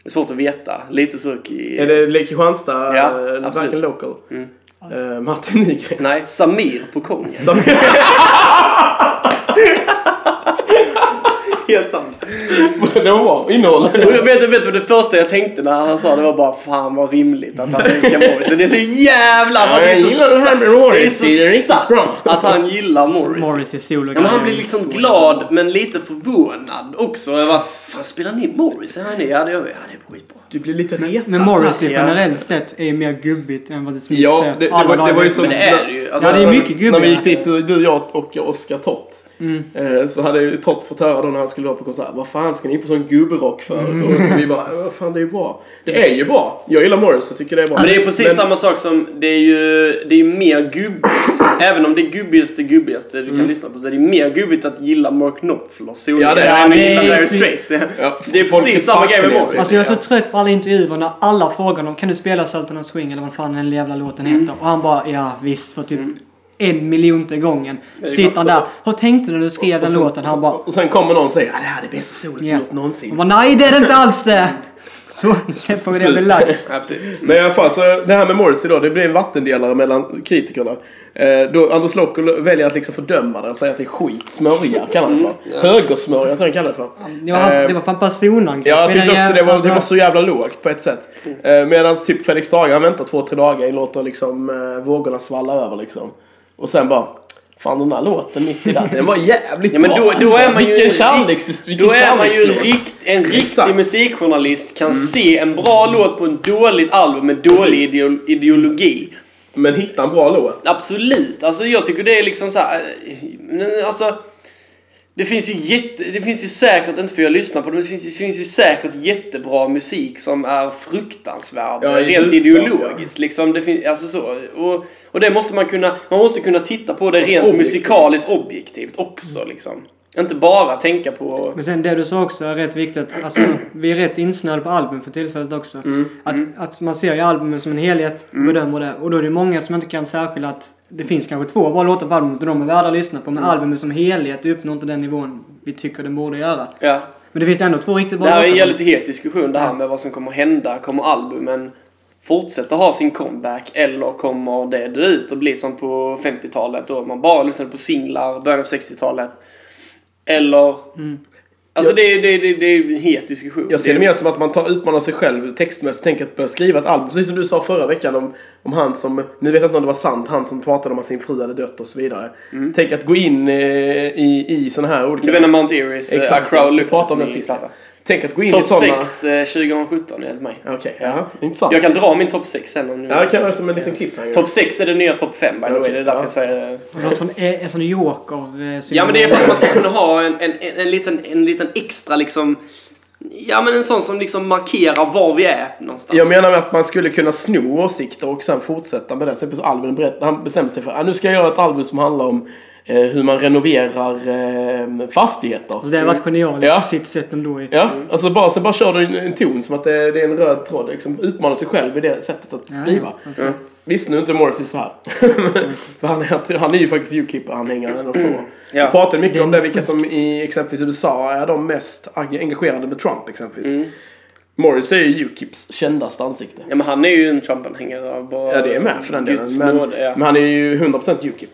Det är svårt att veta. Lite så...
Är det Lake Kristianstad?
Ja,
eh,
absolut.
Varken Local?
Mm.
Eh, Martin Nygren?
Nej, Samir på Kongen.
Som-
Helt sant.
det var bra. Innehållet.
Och vet, du- vet du vad det första jag tänkte när han sa det var bara fan vad rimligt att han älskar Morrissey. Det är så jävla...
Ja,
det är
jag
så
gillar det här
sant.
med
Det är
Morris.
så
Det är
satt
riktigt bra.
att han gillar Morrissey.
Morris i solo.
Ja, men han blir liksom glad men lite förvånad också. Jag bara, fan spelar ni Morrissey? Ja, det ja, det gör vi. Ja, det är skitbra.
Du blir lite retad.
Men Morrissey
Ja.
generellt sett är mer gubbigt än vad det Smith
Ja,
säger.
det, det,
Alla
var, det var ju
dagar.
så...
Men det är det ju. Alltså,
Ja, det är mycket Mm.
När
gubbigare.
vi gick dit, du, du jag och Oskar Tott. eh, Så hade ju Tott fått höra då när han skulle vara på konsert. Vad fan ska ni på sån gubbrock för?
Mm.
Och vi bara, "Eh, vad fan det är ju bra. Det är ju bra. Jag gillar Morris och tycker det är bra.
Men det är precis samma sak som, det är ju det är ju mer gubbigt. Även om det gubbigaste gubbigaste du kan lyssna på så är det mer gubbigt att gilla Mark Knopfler solo.
Mm. Ja, det är-
än att
det
gilla
är ju
Dire
så-
Straits.
Ja,
Det är
folk är
precis samma grej med
fattiga,
Morrissey.
typ.
Alltså jag är så trött på alla intervjuer när alla frågar om kan du spela Sultan of Swing eller vad fan den jävla låten
Mm.
heter. Och han bara ja visst för typ en miljonte gången.
är
Sitter han där. Hur tänkte du när du skrev
Och
den
sen-
låten? Han bara
Och sen kommer någon och säger, "Ah, det här är det bästa solet som
ja.
gjorts
Han
någonsin.
bara nej det är det inte alls det. Så släpper vi det
Slut.
belagt.
Ja, precis.
Men i alla fall, så det här med Morrissey då, det blir en vattendelare mellan kritikerna. Eh, då Anders Lokko väljer att liksom fördöma det och säga att det är skit, smörja kallar han det för.
Mm.
Högersmörja tror jag han kallar det för.
Det var,
Eh,
det var fan personangrepp.
Ja, jag tyckte
Medan Mm.
också
jag-
det var,
alltså,
det var så jävla lågt på ett sätt. Eh, Medan typ Felix Dager, han väntar två, tre dagar, låter liksom eh, vågorna svalla över liksom. Och sen bara, fan den där låten mitt i där, den var jävligt
Ja, men
bra alltså."
då, då är man ju
Vilken
en
kärleks...
rikt-
Vilken
Då är man ju en,
kärlekslåt.
rikt, en riktig
Exakt. Mm.
musikjournalist kan se en bra låt på en dåligt album med dålig
Precis.
ideo- ideologi.
Men hitta en bra låt.
Absolut, alltså jag tycker det är liksom så här, eh, men alltså det finns ju jätte, det finns ju säkert, inte för jag lyssnar på det, men det finns, det finns ju säkert jättebra musik som är fruktansvärd
Ja, i
rent
budskap,
ideologiskt. Liksom, det finns, alltså så. Och, och det måste man kunna, man måste kunna titta på det rent
Alltså, objektivt.
musikaliskt objektivt också liksom. Inte bara tänka på...
Men sen det du sa också är rätt viktigt. Alltså, vi är rätt insnöade på album för tillfället också.
Mm,
Att, att man ser ju albumen som en helhet och bedömer det. Och då är det många som inte kan särskilja att det finns kanske två bra låtar på albumet och de är värda att lyssna på. Men
Mm.
albumet som helhet uppnår inte den nivån vi tycker den borde göra.
Ja.
Men det finns ändå två riktigt
Det här
bra
är en
låtar.
jävligt het diskussion det här med vad som kommer hända. Kommer albumen fortsätta ha sin comeback eller kommer det dö ut och bli som på 50-talet då man bara lyssnade på singlar, början av 60-talet? Eller... Alltså det, är- det, är- det, är- det är ju en het diskussion.
Mm. Jag ser det mer som att man tar, utmanar sig själv textmässigt, tänker att börja skriva ett album. Precis som du sa förra veckan om, om han som, nu vet jag inte om det var sant, han som pratade om att sin fru hade dött och så vidare.
Mm.
Tänk att gå in eh, i, i sådana här olika...
Du menar Mount Eries eh,
Exakt,
A Crowd
vi
Looked
pratade om
At
den
Me
sist.
platta.
Tänk att gå in i
Topp
sådana...
6 eh, 2017 enligt mig.
Okej, ja, intressant.
Jag kan dra min topp 6 sen om du
Ja, det kan vara som en liten cliffhanger.
Topp 6 är det nya topp 5 by the way. Det är därför jag säger det.
Det låter som en en sån joker. eh,
Ja men det är för att man ska kunna ha en, en, en, en, liten, en liten extra liksom Ja men en sån som liksom markerar var vi är någonstans.
Jag menar med att man skulle kunna sno åsikter och sen fortsätta med det. Sen på Albin berätt- han bestämde sig för att nu ska jag göra ett album som handlar om eh, hur man renoverar eh, fastigheter.
Alltså, det har varit genialiskt
Ja.
på sitt sätt ändå. i-
Ja,
Mm.
alltså bara, sen bara kör du en, en ton som att det, det är en röd tråd. Liksom, utmanar sig själv i det sättet att skriva. Visst nu är inte Morrissey så här.
Mm.
För han är, han är ju faktiskt UKIP-anhängare eller få.
Ja.
Vi pratade mycket om det, vilka som i exempelvis USA är de mest ag- engagerade med Trump exempelvis.
Mm.
Morrissey är ju UKIPs kändaste ansikte.
Ja, men han är ju en Trump-anhängare. bara-
Ja, det är med för den delen.
Guds
Men,
nåd, ja. Mm.
men han är ju 100% UKIP.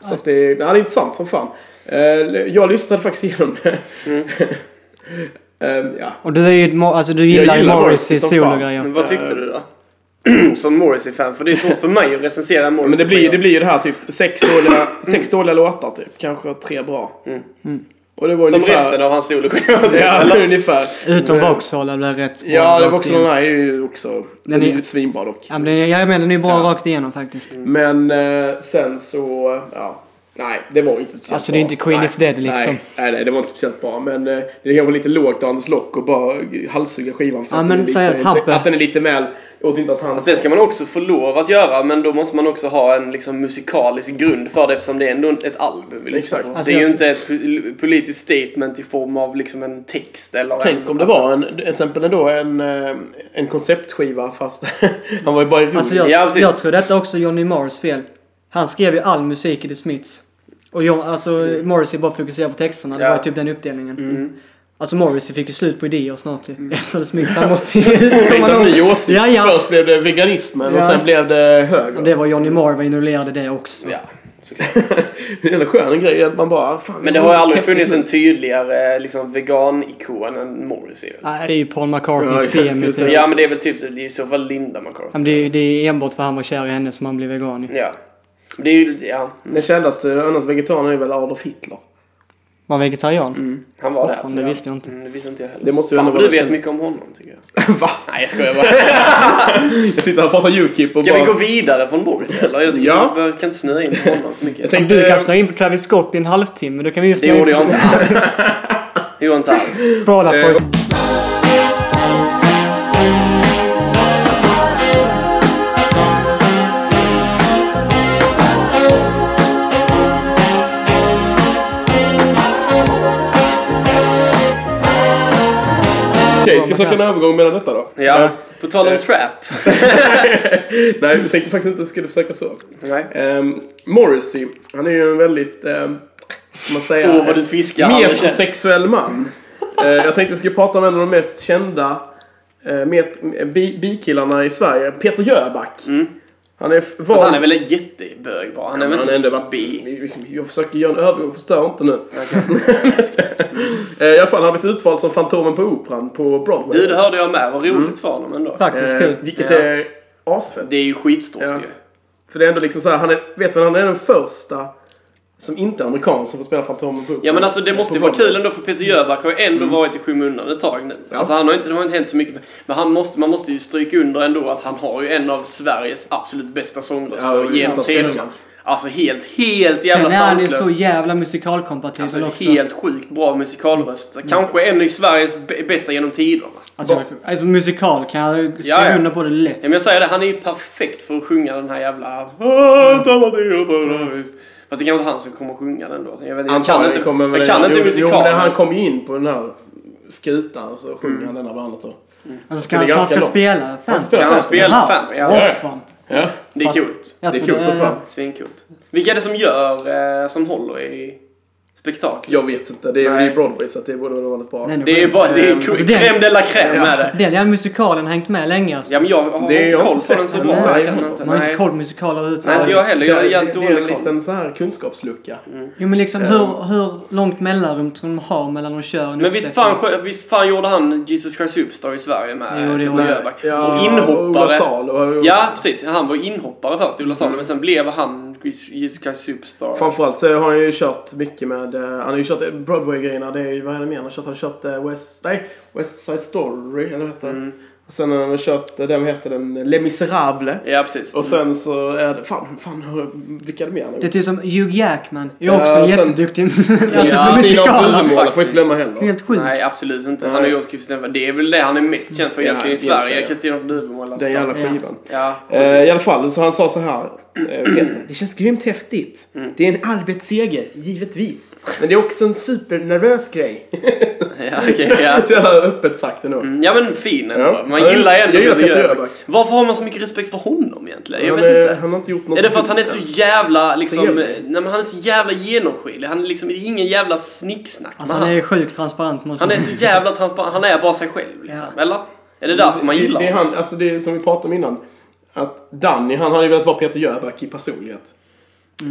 Så att det, är- han är intressant som fan. Eh, Jag lyssnade faktiskt igenom det.
Mm.
Eh, ja.
Och du, är ju, ett mo- alltså, du gillar, ju
gillar
Morrissey
Morrissey som fan.
sologrejer.
Men vad tyckte du då? Som Morrissey-fan, för det är svårt för mig att recensera Morrissey.
Eh, Men det blir, det blir ju det här typ sex dåliga,
Mm.
sex dåliga låtar typ. Kanske tre bra.
Mm.
Och det var
Som
ungefär,
resten av hans soloskivor.
Ja, ungefär.
Utom
Men-
Vauxhall är väl rätt bra
Ja, det
rakt
var också den
igenom.
här är ju också... Den är
är-
ju svinbra dock.
Ja, men den är- jag är med, den är bra
Ja.
rakt igenom faktiskt.
Men eh, sen så, ja. Nej, det var inte speciellt
Alltså, det är inte Queen
nej,
is dead, liksom.
Nej, nej, nej, det var inte speciellt bra. Men eh, det kanske var lite lågt av Anders Lock och bara halshugga skivan för
Ja,
att,
men
den är
säg att
lite,
Happe-
att den är lite väl... Jag åt inte att han...
Fast Alltså, det ska man också få lov att göra, men då måste man också ha en liksom, musikalisk grund för det eftersom det är ändå ett album. Liksom.
Exakt.
Det
Alltså,
är ju
jag-
inte ett pol- politiskt statement i form av liksom, en text eller
Tänk
en,
om det var en, till exempel då en, eh, en konceptskiva fast han var ju bara ironisk.
Alltså jag,
Ja, precis.
jag tror detta är också Johnny Mars fel. Han skrev ju all musik i The Smiths. Och John, alltså
Mm.
Morrissey bara fokuserade på texterna. Det
Ja.
var ju typ den uppdelningen. Alltså Morrissey fick ju slut på idéer snart ju.
Mm.
Efter The Smiths. Han måste ju komma
Hitta en ny
någon-
åsikt.
Ja, ja.
Först blev det veganismen
Ja.
och sen blev det höger.
Och det var Johnny Marr var involverad i det också.
Ja.
Det är en skön grej att man bara... Fan,
Men det har ju aldrig
häftigt
funnits
nu.
en tydligare liksom, vegan-ikon än Morrissey.
Nej, det är ju Paul
Ja,
McCartney
jag skulle
semi.
säga-
typ.
Ja.
Ja,
Ja, men det är väl typ så- det är i så fall Linda McCartney.
men Det, är- det är enbart för att han var kär i henne som han blev vegan i.
Ja. Det är ju, ja,
Den kändaste annars vegetarianen är väl Adolf Hitler.
Var vegetarian?
han var där.
fan,
så
det
ja.
visste jag inte.
Mm, det visste inte jag heller.
Det måste ju
Fan,
ändå
vad
vara
du
det
vet
känd-
mycket om honom tycker jag.
Va?
Nej, jag skojar bara.
Jag sitter här och pratar Ukip och
Ska
bara...
vi gå vidare från Boris eller? Jag tycker
Ja.
vi kan inte snöa in på honom för mycket.
Jag
Om
tänkte,
du kan snöa in på Travis Scott i en halvtimme, då kan vi ju
Det
snöa in
gjorde jag
på
inte alls. Det gjorde jag inte alls.
Fall Out
Eh,
Boys.
Okej, ska jag söka en övergång mellan detta då?
Ja,
Eh,
på tal om
Eh.
trap.
Nej, jag tänkte faktiskt inte att jag skulle försöka så.
Nej.
Ehm, Morrissey, han är ju en väldigt, ehm, vad ska man säga,
Åh, vad du fiskar, Anders.
metrosexuell man. Eh, jag tänkte vi skulle prata om en av de mest kända uh, met, bi, bikillarna i Sverige, Peter Jöback. Han är, f- var,
Mm. Fast han är väl en jättebög bara. Han är väl
han
inte
har ändå varit
bi?
bi. Jag försöker göra en övergång, förstör inte nu. Jag ska- Eh, I alla fall, han har blivit utvald som Fantomen på Operan på Broadway.
Du, det hörde jag med. Vad roligt
Mm.
för honom ändå.
Faktiskt
Eh,
kul.
vilket
Ja.
är asfett.
Det är ju skitstort
Ja.
ju.
För det är ändå liksom så här, han är, vet du, han är den första som inte är amerikan som får spela Fantomen på Operan.
Ja men alltså det måste ju
På
vara kul ändå för Peter Jöback har ju ändå
Mm.
varit i skymundan ett tag nu. Alltså han har inte, det har inte hänt så mycket. Men han måste, man måste ju stryka under ändå att han har ju en av Sveriges absolut bästa
Ja,
sångröster
utan
genom
tvekan.
tiderna. Alltså helt, helt jävla
Sen är han ju
sanslöst.
så jävla musikalkompatibel
Alltså
också. Mm.
helt sjukt bra musikalröst. Kanske en i Sveriges b- bästa genom tiderna.
Alltså, jag- alltså musikal kan jag skriva
Ja, ja.
under på det lätt.
Ja, men jag säger det, han är ju perfekt för att sjunga den här jävla...
Mm.
Fast det kanske inte han som kommer att sjunga den då. Jag, vet, inte, jag kan
Antagligen
inte,
kommer väl
jag kan
den-
inte
jo, Jo,
musikalen.
men han kom ju in på den här skutan och så
Mm.
sjunger han denna varandra då.
alltså
det
ska
är
han, så han
ganska
ska
långt.
spela Phantom?
spelar
Kan han spela Phantom? Ja,
Ja.
Åh, fan.
Ja,
det är coolt.
Jag
det är
tror
kul som fan.
Svinkult. Vilka är det som gör, eh, som håller i spektakel?
Jag vet inte, det är
Nej.
ju Broadway så att det borde väl vara väldigt bra.
Nej, nej.
Det är ju bara, det
eh,
är
Alltså,
cr-
det-
crème de la crème är det.
Den jävla musikalen har hängt med länge alltså.
Ja men jag har
Det är
inte
jag
koll
inte
på den
sett.
så
Nej,
bra.
nej,
Jag kan
jag
inte,
Man har inte
nej.
koll på musikaler
Nej inte
överhuvudtaget.
jag heller. Jag har
det, det,
jävligt
det är en
dålig koll. Mm.
liten så här kunskapslucka.
Jo men liksom hur, hur långt mellanrum tror de har mellan de kör och en
Eh. Men visst
uppsättning?
fan, skö- visst fan gjorde han Jesus Christ Superstar i Sverige med
Jo, det
Peter
gjorde
Jöback?
Ja,
och
Ola
inhoppare.
Salo och...
Ja, precis. Han var inhoppare först, Ola
Mm.
Salo, men sen blev han Jesus Christ Superstar.
Framförallt så har han ju kört mycket med, eh, han har ju kört Broadway-grejerna, det är ju, vad är det mer han har kört? Han har kört eh, West, nej, West Side Story, eller vad heter den?
Mm.
Och sen har han kört, eh, den vad heter den, Les Misérables.
Ja, precis.
Och sen så är det, fan, fan, hur- vilka är det mer han har
Det är
gjort?
typ som Hugh Jackman. Är också
Ja,
en
sen-
jätteduktig alltså,
Ja,
ja,
Sina
musikal.
Duvemåla får jag inte glömma heller.
Helt sjukt.
Nej, alltså, absolut inte. Han har gjort Kristina Det är väl det han är mest känd för
Ja,
egentligen i
egentligen,
Sverige.
ja.
Kristina från Duvemåla.
Den jävla
Ja.
skivan.
Ja.
Eh, I alla fall, så han sa så här. eh, vet det. Det känns grymt häftigt.
Mm.
Det är en arbetsseger, givetvis. Men det är också en supernervös grej.
Ja, okej, ja. Mm,
Så jävla öppet sagt ändå.
Ja men fin ändå.
Ja.
Man gillar ändå
Jag gillar
Peter
Peter
Jöback.
Jöback.
Varför har man så mycket respekt för honom egentligen? Jag
han,
vet
eh,
inte.
han har inte gjort något.
Är det för att han är så jävla liksom,
Trevlig.
nej men han är så jävla genomskinlig. Han är liksom det är ingen jävla snicksnack.
Alltså
Men
han är sjukt transparent måste
han är
man-
så jävla transparent. Han är bara sig själv liksom. Eller? Är det därför man gillar
det, det är
honom?
han, alltså det är som vi pratade om innan. Att Danny, han hade ju velat vara Peter Jöback i personlighet.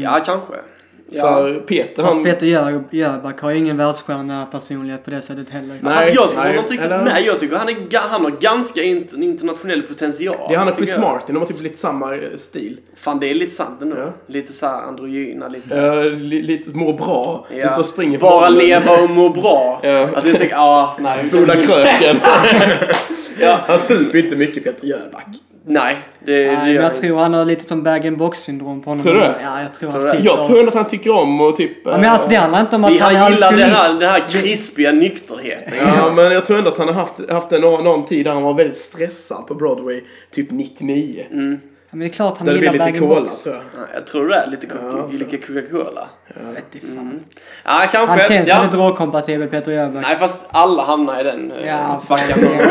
Ja, kanske. Ja.
För Peter,
Fast
han...
Peter Jör- Jöback har ju ingen världsstjärna personlighet på det sättet heller.
Nej.
Fast jag tycker honom inte riktigt
eller?
med. Jag tycker han, är, ga- han har ganska in- en internationell potential.
det är han och Chris
tycker jag.
Martin, de har typ lite samma eh, stil.
Fan, det är lite sant ändå.
Ja.
Lite så här androgyna, lite...
Eh, li, lite mår bra, lite och springer på
Bara
bollen.
leva och må bra.
Ja.
Alltså jag tycker, ja, nej.
Spola kröken.
Ja.
Han super inte mycket Peter Jöback.
Nej, det, det
Nej,
gör
men
jag
jag
inte.
tror han har lite som bag-in-box syndrom på honom.
Tror du det?
Ja, jag tror han
Tror du det?
sitter
Jag tror ändå att han tycker om och typ...
ja, men alltså det handlar inte om att
Vi
han är
han gillar den här,
alkoholist.
den här krispiga nykterheten.
Ja, men jag tror ändå att han har haft, haft en, någon tid där han var väldigt stressad på Broadway, typ 99.
Mm.
Ja, Men det är klart han
Där det
gillar
blev lite cola,
bag-in-box.
tror jag.
Ja, Jag tror det är lite, coca-
Ja.
lite Coca-Cola. Mm.
Vete fan.
Ja, kanske.
Han känns
ja.
inte drogkompatibel Peter Jöback.
Nej, fast alla hamnar i den eh,
Ja, alltså,
svackan.
fan.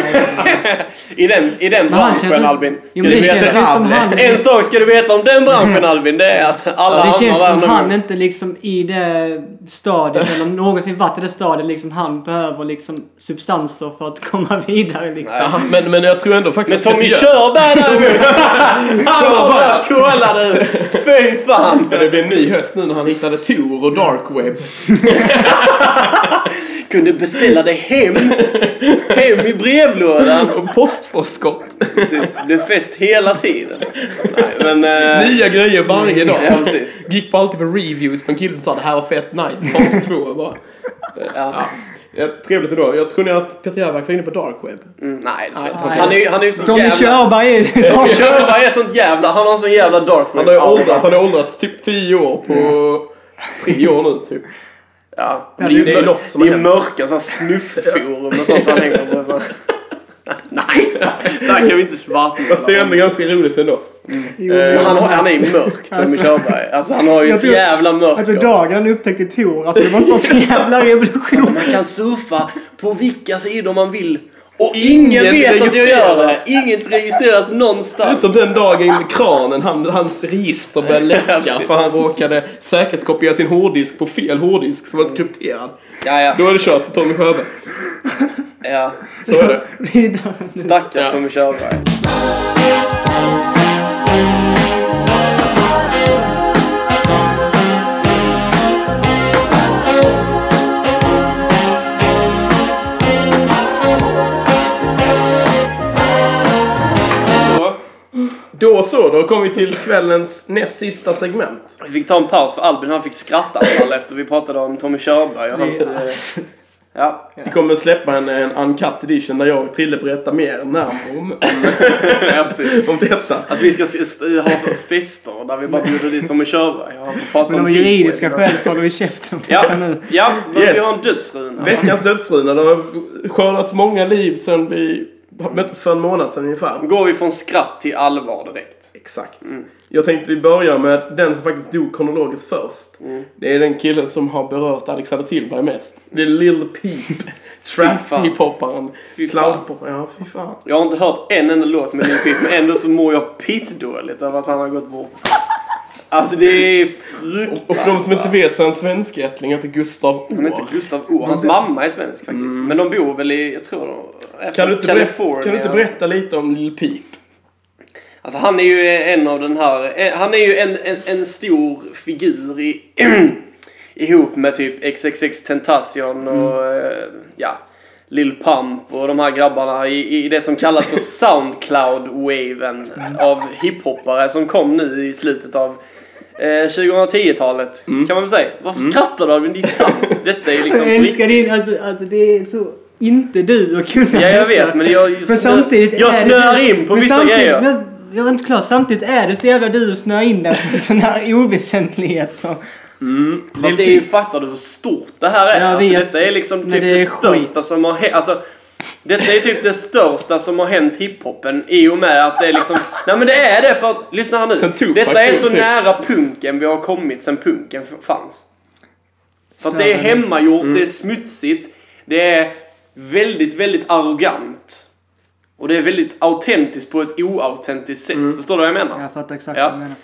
I den, i den
Men han
branschen,
känns-
Albin.
Jo, men det
Ska du
känns
veta-
ju som han-
En sak ska du veta om den branschen, Albin. Det är att alla
Det
hamnar
känns
där
som
någon
han
gång.
inte liksom i det stadiet, eller om någonsin varit i det stadiet, liksom han behöver liksom substanser för att komma vidare liksom.
Ja, men, men jag tror ändå faktiskt
Men Tommy
Peter Jöback-
Körberg däremot! Han har bara kola nu! Fy fan!
Men det blir en ny höst nu när han hittade Tor och Dark Web.
Kunde beställa det hem. Hem i brevlådan.
Och postförskott.
Precis, det är fest hela tiden. Nej, men... eh,
Nya grejer varje dag.
Ja, precis.
Gick på alltid på reviews på en kille som sa det här var fett nice. Part två bara.
Ja.
Ja, trevligt ändå. Jag tror ni att Peter Jöback var inne på dark web.
Mm, nej, det tror jag inte.
Nej.
Han är ju- han är ju så
Tommy
jävla...
Körberg är ju
Tommy Körberg är sånt jävla... Han har en sån jävla dark
Han
web.
har ju åldrats, han har åldrats typ 10 år på
Mm.
tre år nu typ.
Ja.
det är ju- det är något som har
Det är
hänt.
mörka såhär snuffforum och sånt han hänger på. Så. Nej! Så här kan vi inte svartmåla.
Fast det är ändå ganska roligt ändå.
Men
Eh,
Han, har, han är ju mörk, Tommy Körberg. Alltså han har ju
Jag
ett
tror-
jävla mörker.
Alltså dagen han upptäckte Tor, alltså det måste vara så jävla revolution.
Man kan surfa på vilka sidor man vill. Och ingen
Ingen
vet att jag
registrerar.
gör det. Inget registreras någonstans.
Utom den dagen kranen, han, hans register började läcka
precis.
för han råkade säkerhetskopiera sin hårddisk på fel hårddisk som var krypterad.
Ja, ja.
Då är det kört för Tommy Sjöberg.
ja.
Så är det.
Vidare.
Stackars
Ja.
Tommy Körberg.
Då så, då kom vi till kvällens näst sista segment.
Vi fick ta en paus för Albin han fick skratta i alla fall efter vi pratade om Tommy Körberg och hans... eh, Ja.
Vi kommer släppa en, en uncut edition där jag och Trille berättar mer närmare om,
ja, precis.
om detta.
Att vi ska s- st- ha fester där vi bara bjuder dit Tommy Körberg och han får prata
Men
om
av
Deep
juridiska
Web.
skäl så håller vi käften på
typ- Ja,
detta nu.
ja men vi
Yes.
har en dödsruna.
Veckans dödsruna, det har skördats många liv sedan vi möttes för en månad sedan ungefär.
går vi från skratt till allvar direkt.
Exakt.
Mm.
Jag tänkte vi börjar med den som faktiskt dog kronologiskt först.
Mm.
Det är den killen som har berört Alexander Tillberg mest. Det är Lil Peep.
fan.
Trap-hiphopparen.
Fy fan.
Clownpopparen. Ja, fy fan.
Jag har inte hört en enda låt med Lil Peep, men ändå så mår jag pissdåligt över att han har gått bort. Alltså det är fruktansvärt.
Och för de som inte vet så är han svenskättling, heter Gustav Å.
Han heter Gustav O. Hans mamma är svensk faktiskt. Men de bor väl i, jag tror de är
Mm. Kan
från
du, inte berätta,
Kalifornien.
kan du inte berätta lite om Lil Peep?
Alltså han är ju en av den här, eh, han är ju en, en, en stor figur i, ihop med typ XXX Tentacion och
Mm.
eh, ja, Lil Pump och de här grabbarna i, i det som kallas för Soundcloud-waven av hiphoppare som kom nu i slutet av eh, 2010-talet kan man väl säga. Varför skrattar du Albin? Det är sant. Detta är liksom
Mm. Jag älskar
riktigt.
din, alltså, alltså det är så inte du att kunna
Ja jag
detta.
vet men jag,
Men samtidigt
jag
är det-
snöar in på
men
vissa
samtidigt-
grejer.
Men, jag är inte klar. Samtidigt är det så jävla du att snöa in där på sådana här oväsentligheter.
Fast det är ju, fattar du hur stort det här är?
Jag
alltså,
vet.
detta är liksom
Men
typ
det
det,
är
största som har hänt. Alltså, Detta är typ det största som har hänt hiphopen i och med att det är liksom... Nej men det är det för att, lyssna här
Sen
nu.
Tupac
Detta är
kom
så
till.
nära punken vi har kommit sen punken f- fanns. För att det är
Störande.
hemmagjort,
Mm.
det är smutsigt, det är väldigt, väldigt arrogant. Och det är väldigt autentiskt på ett oautentiskt sätt. Förstår du vad jag menar?
Mm. Jag fattar exakt
Ja.
vad du menar.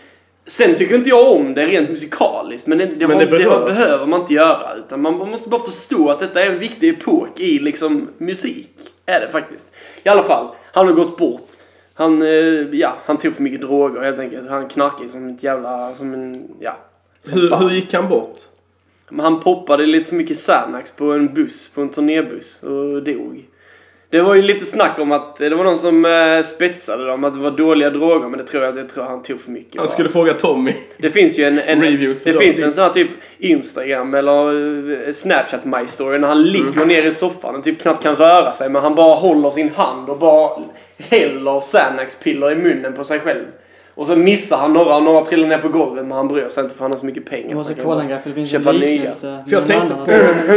Sen tycker inte jag om det rent musikaliskt, men det, det,
Men
har,
det
det,
berör.
har- behöver man inte göra. Utan man, man måste bara förstå att detta är en viktig epok i liksom musik. Är det faktiskt. I alla fall, han har gått bort. Han, eh, ja, han tog för mycket droger helt enkelt. Han knarkade som ett jävla, som en, ja. Som
Hur,
fan.
hur gick han bort?
Men han poppade lite för mycket Xanax på en buss, på en turnébuss och dog. Det var ju lite snack om att, det var någon som eh, spetsade dem att det var dåliga droger, men det tror jag inte, jag tror han tog för mycket.
Han
bara.
skulle fråga Tommy.
Det finns ju en, en,
Reviews på
det
dem.
finns ju en sån här typ Instagram eller eh, Snapchat My Story när han ligger
Mm.
ner i soffan och typ knappt kan röra sig men han bara håller sin hand och bara häller Xanax-piller i munnen på sig själv. Och så missar han några och några trillar ner på golvet men han bryr sig inte för han har så mycket pengar.
Jag måste
så han
kolla en
bara
grej för det finns
köpa
en
nya.
liknelse. med
För jag
en
tänkte
annan.
på...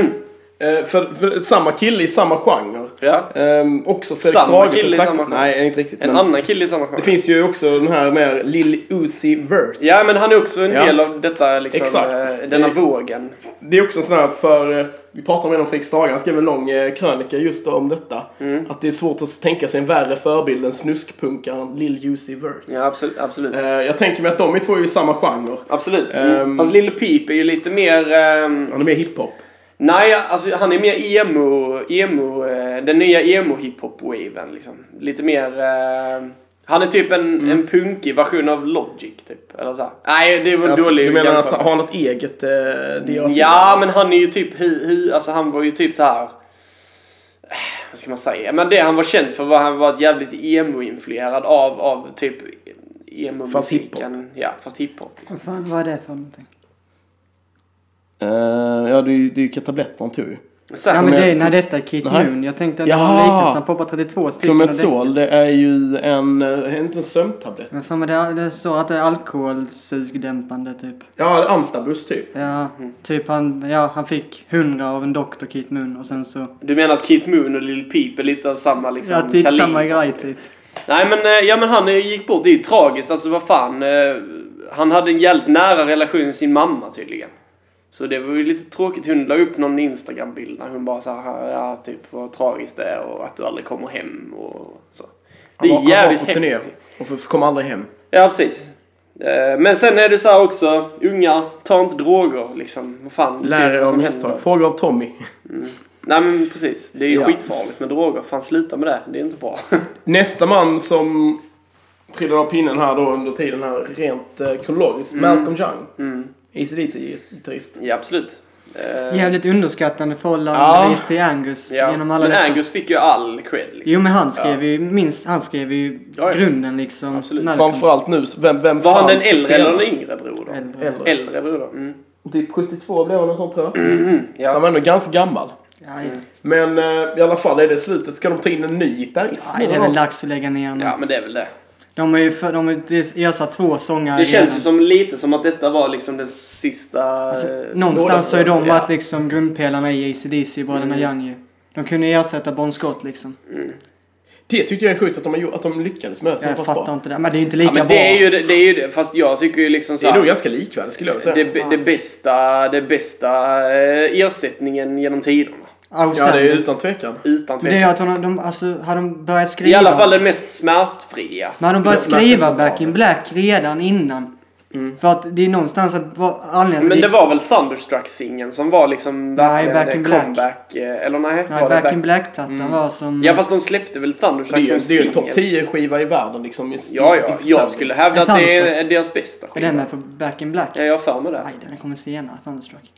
eh, för, för samma kille i samma genre.
Ja.
Ehm, också Felix
Samma
Strage som
kille i
snackade-
samma genre.
Nej, inte riktigt.
En
men-
annan kille i samma genre.
Det finns ju också den här med Lil Uzi Vert.
Ja men han är också en
Ja.
del av detta liksom,
Exakt.
eh, denna
Det-
vågen.
Det är också en sån här för, eh, vi pratade om det om Felix Strage, han skrev en lång eh, krönika just om detta.
Mm.
Att det är svårt att tänka sig en värre förebild än snuskpunkaren Lil Uzi Vert.
Ja absolut. absolut.
Eh, jag tänker mig att de är två är i samma genre.
Absolut.
Ehm.
Fast Lille Peep är ju lite mer... ehm,
Han är mer hiphop.
Nej, alltså han är mer emo, emo eh, den nya emo hiphop waven liksom. Lite mer, eh, han är typ en,
Mm.
en punkig version av Logic typ. Eller så här. Nej, det var en
Alltså,
dålig
du menar att
jämförelse.
han har något eget eh, DLC?
Ja, men han är ju typ, hu, hu, alltså han var ju typ så här. eh, Vad ska man säga? Men det han var känd för var han var ett jävligt emo-influerad av, av typ
Fast
emo-musiken. Ja, fast hiphop. Liksom.
Vad fan, vad är det för någonting?
Eh, ja, det är ju- det är ju tabletten han tog ju.
Sen,
Ja men
jag-
det är när detta är Kit
Nej.
Moon. Jag tänkte att
Jaha.
han liknelse. Han poppar 32 stycken. av däck.
Clometzol, det är ju en, eh, inte en sömntablett.
Men för mig det, det står att det är alkoholsugdämpande typ.
Ja, antabus typ.
Ja,
Mhm.
typ han, ja, han fick 100 av en doktor Kit Moon och sen så...
du menar att Keith Moon och Lil Peep är lite av samma liksom
Ja, typ
kaliber?
samma grej typ.
Nej men, eh, ja, men han eh, gick bort, det är ju tragiskt. Alltså vad fan. eh, Han hade en jävligt nära relation med sin mamma tydligen. Så det var ju lite tråkigt. Hon la upp någon Instagram-bild när hon bara såhär, ja typ vad tragiskt det är och att du aldrig kommer hem och så. Det är
Han var-
jävligt
han var på
hemskt.
turné och kom aldrig hem.
Ja precis. Eh, Men sen är det så här också, unga, ta inte droger liksom. Vad fan, du ser
Lär er
vad
av
som
misstag.
händer.
Fråga av Tommy.
Nej men precis, det är ju
Ja.
skitfarligt med droger. Fan sluta med det, det är inte bra.
Nästa man som trillade av pinnen här då under tiden här rent eh, kronologiskt. Malcolm Young.
Mm.
ACDC-gitarrist.
Ja absolut. Eh,
Jävligt underskattande
Ja.
förhållande ja. till Angus
Ja.
genom alla
men
dessa-
Angus fick ju all cred. Liksom.
Jo men han skrev ju minst, han skrev ju
Ja, ja.
grunden liksom.
Absolut.
Malcolm.
Framförallt nu. så Vem, vem
Var han
fan
den
ska
äldre
spela?
eller den yngre brodern?
Äldre.
Äldre.
Äldre Mm. brodern. Mm.
Typ 72 blev han och sånt tror jag. Så han
Ja.
var ändå ganska gammal.
Ja,
Mm.
ja.
Men eh, i alla fall är det slutet. Ska de ta in en ny gitarrist?
Nej, det är väl dags att lägga ner honom.
ja, men det är väl det.
De har ju för, de har ju ersatt två sångare
Det känns
redan.
ju som lite som att detta var liksom den sista... eh,
Alltså, Någonstans har ju de
ja.
varit liksom grundpelarna i ACDC,
Mm.
bröderna Young ju. De kunde ersätta Bon Scott liksom.
Det tycker jag är sjukt att de, har gjort, att de lyckades med det så
jag
pass
fattar
bra.
inte det. Men det är ju inte
Ja,
lika
men
bra.
det är, ju det, det är ju det. Fast jag tycker ju liksom så
Det är nog
här,
ganska likvärdigt skulle jag vilja säga.
det, det, det bästa, det bästa eh, ersättningen genom tiderna.
Ja, det är
Outstanding.
utan tvekan.
Utan
Men Det
tvekan.
är att de, de alltså, hade de börjat skriva...
I alla fall den mest smärtfria.
Men hade de börjat
Ja, Black
skriva
Lives Matter.
Back in Black redan innan. För att det är någonstans att... vad- Anledningen
Mm. Men
till
det var väl Thunderstruck-singeln som var liksom
Nej,
verkligen
Back in
det
Black.
comeback... eh, Eller nej,
Nej,
var det
Back in Black-plattan var som...
Ja fast de släppte väl
Mm. Det är
Thunderstruck
ju,
som
det är ju en
singel?
topp 10 skiva i världen liksom. I,
Ja,
i- i
ja.
försäljning.
Jag skulle hävda att det är deras bästa
Är den
skiva.
med på Back in Black?
Ja, jag har för mig det.
Nej, den kommer senare, Thunderstruck.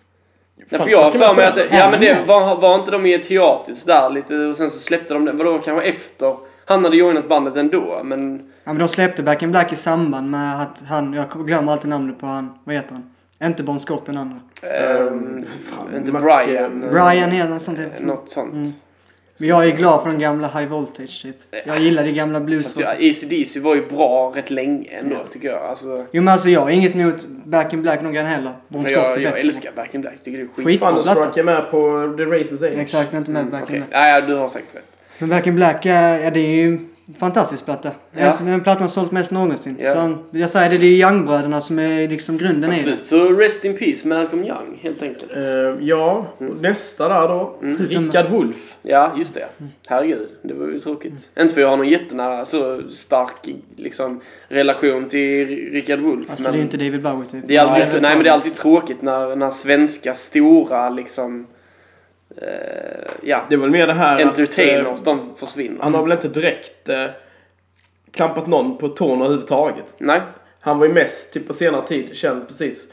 Nej, för jag har för mig att, det- ja men det
Ja.
var, var inte de i ett hiatus där lite och sen så släppte de den, vadå kanske efter? Han hade joinat bandet ändå men...
Ja, men de släppte Back in Black i samband med att han... Jag glömmer alltid namnet på han. Vad heter han? Inte Bon Scott, den andra.
ehm, inte
Mac-
Brian. eh,
Brian är något sånt. där.
Något sånt.
Mm. Men jag är glad för den gamla High Voltage typ. Jag gillar det gamla blues.
Fast Alltså, ja, ACDC var ju bra rätt länge ändå tycker jag. Alltså,
Jo men alltså jag har inget emot Back in Black någon heller. Bon
men
Scott är
jag,
bättre.
jag älskar Back in Black, tycker det är skit.
Skit.
Thunderstruck är med på The Races 8.
Exakt, jag är inte med Back in
Mm, Okej,
Black.
nej ja, du har säkert rätt.
Men Back in Black, är- ja det är ju en fantastisk platta. Alltså,
Ja.
Ja. Den plattan har sålt mest någonsin.
Ja.
Så han- jag säger det, det är Young-bröderna som är liksom grunden i det.
Absolut. Så rest in peace Malcolm Young helt enkelt.
Eh, ja,
Mm.
och nästa där då. Rickard Wolff.
Ja, just det. Herregud, det var ju tråkigt.
Mm.
Inte för jag har någon jättenära så stark liksom, relation till Rickard Wolff.
Alltså
men
det är inte David Bowie typ.
det är alltid,
Ja, jag
nej,
vet
men
inte.
det är alltid tråkigt när, när svenska stora liksom... Eh, ja,
Det är väl mer det här att... eh,
entertainers, de försvinner.
Han har väl inte direkt eh, klampat någon på tårna överhuvudtaget.
Nej,
Han var ju mest, typ på senare tid, känd precis.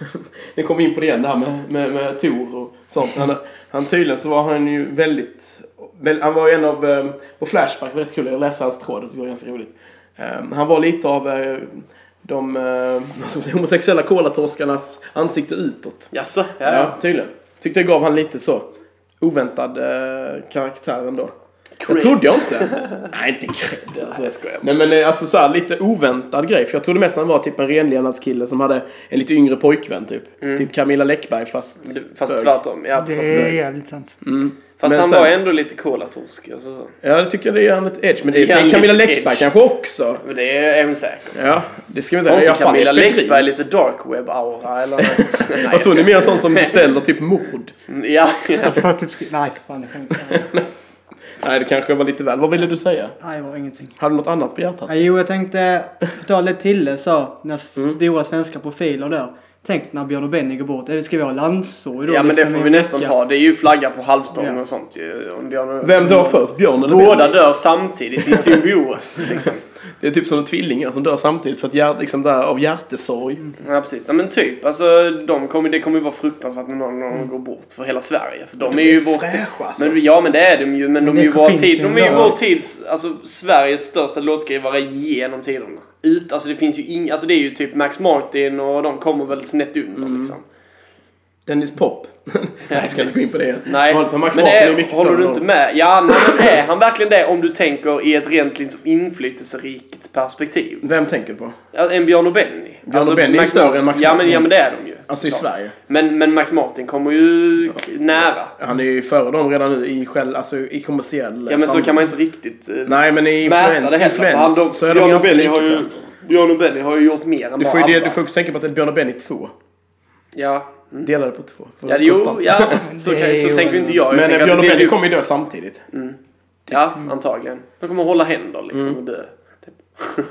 Ni kom in på det igen det här med, med, med Tor och sånt. Han, han tydligen så var han ju väldigt... väl- Han var ju en av... eh, På Flashback, det var rätt kul, jag läste hans tråd, det var ganska roligt. Eh, Han var lite av eh, de eh, vad ska man säga, homosexuella kolatorskarnas ansikte utåt.
jaså? Ja.
Ja,
ja.
tydligen. Tyckte jag gav han lite så oväntad eh, karaktär ändå.
Cred.
Det trodde jag inte. Nej, inte cred. Alltså, jag skojar. Nej, men eh, alltså så här, lite oväntad grej. För jag trodde mest han var typ en renlevnadskille som hade en lite yngre pojkvän typ. Typ Camilla Läckberg fast...
Mm. Det- Fast
bög.
tvärtom. Ja, fast,
Det är jävligt sant.
fast
men
han
sen-
var ändå lite colatorsk. Alltså. så.
Ja, det tycker jag det är en lite edge. Men det är
Det är
sen Camilla
lite
Läckberg
edge.
kanske också.
Men det är hon säkert.
Ja, det ska vi säga.
Har inte
Ja, fan,
Camilla
det är för
Läckberg
grin.
lite dark web-aura eller? Nej,
Vad så, ni är mer en sån som beställer typ mord?
Ja, ja.
Jag får typ skri- Nej, fan det skämtar jag.
Nej, det kanske var lite väl. Vad ville du säga?
Nej, det var ingenting.
Har du något annat på hjärtat?
Ja, jo, jag tänkte ta lite till det sa när
Mm.
stora svenska profiler då. Tänk när Björn och Benny går bort. Eller ska vi ha landssorg då?
ja men det
liksom,
får
i
vi nästan
vecka?
ha. Det är ju flagga på halvstång
Ja.
och sånt ju. Om Björn
Vem dör först? Björn eller Benny?
Båda dör samtidigt i symbios. liksom.
Det är typ som tvillingar som dör samtidigt för att hjärt, liksom där, av hjärtesorg.
Ja precis. Ja, men typ. Alltså, de kommer, det kommer ju vara fruktansvärt när någon, någon går bort för hela Sverige. För de är ju vår tid.
fräscha, alltså.
Men, ja men det är de ju. Men de är
det
ju vår
finns
tid.
ju
De är ju
ändå.
vår tids, alltså Sveriges största låtskrivare genom tiderna. Ut, alltså det finns ju inga, alltså det är ju typ Max Martin och de kommer väl snett under liksom.
Dennis Pop. Nej, jag ska inte gå in på det.
Nej,
Valet av Max
men
Martin
är,
är mycket
håller
större
du
roll.
inte med? Ja, nej, men är han verkligen det om du tänker i ett rent liksom, inflytelserikt perspektiv?
Vem tänker du på?
Ja, En Björn och Benny. Björn
och Benny är ju större än Max
ja, men,
Martin.
ja, men det är de ju.
Alltså i
Klart.
Sverige.
Men, men Max Martin kommer ju k- nära.
Han är ju före dem redan nu i, själv, alltså, i kommersiell...
Ja, men så
fram-
kan man inte riktigt eh,
Nej, men i
mäta
influens,
det heller. för Han,
influens
de,
så är de
Björn, och
ganska
Benny
lika.
har ju,
tror jag.
Björn och Benny har ju gjort mer än
Du får,
bara
ju det,
andra.
du får också tänka på att det är Björn och Benny 2.
Ja. Mm.
Delade på två. För
Ja, jo,
konstant.
ja, fast så, kan, så tänker ju inte jag. jag.
Men
tänker
eh,
att
Björn och
det blir
Benny
ju-
kommer ju dö samtidigt.
Ja, antagligen. De kommer hålla händer liksom och dö. Typ.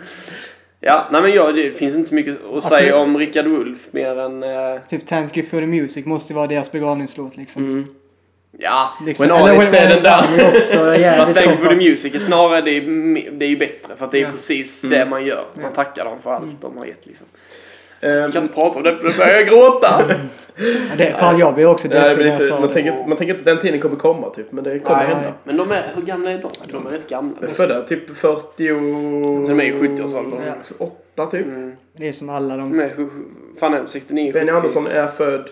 ja, nej men jag, det finns inte så mycket att
Alltså-
säga om Rickard Wolff mer än... eh,
Typ Thank You For The Music måste ju vara deras begravningslåt
Mm.
liksom.
ja,
liksom.
When all
eller
is said
When
and done.
är också
fast
jävligt
Thank You
topp.
For The Music är snarare det är, m- det är ju bättre. För att det är precis det man gör. Man tackar dem för allt
Mm.
de har gett liksom. Jag kan
Ehm,
inte prata om det för då börjar jag gråta.
Ja, det, fan jag blev också
ja, det
deppig när
blir
jag
lite,
sa
man,
det.
tänker, man tänker inte att den tiden kommer komma typ, men det kommer
Nej.
hända.
men de är, hur gamla är de? De är rätt gamla.
Födda typ 40...
De är i Mm, 70-årsåldern.
Ja.
8 typ.
Det är som alla de.
De är, sju- sju- fan är de 69?
Benny
70?
Andersson är född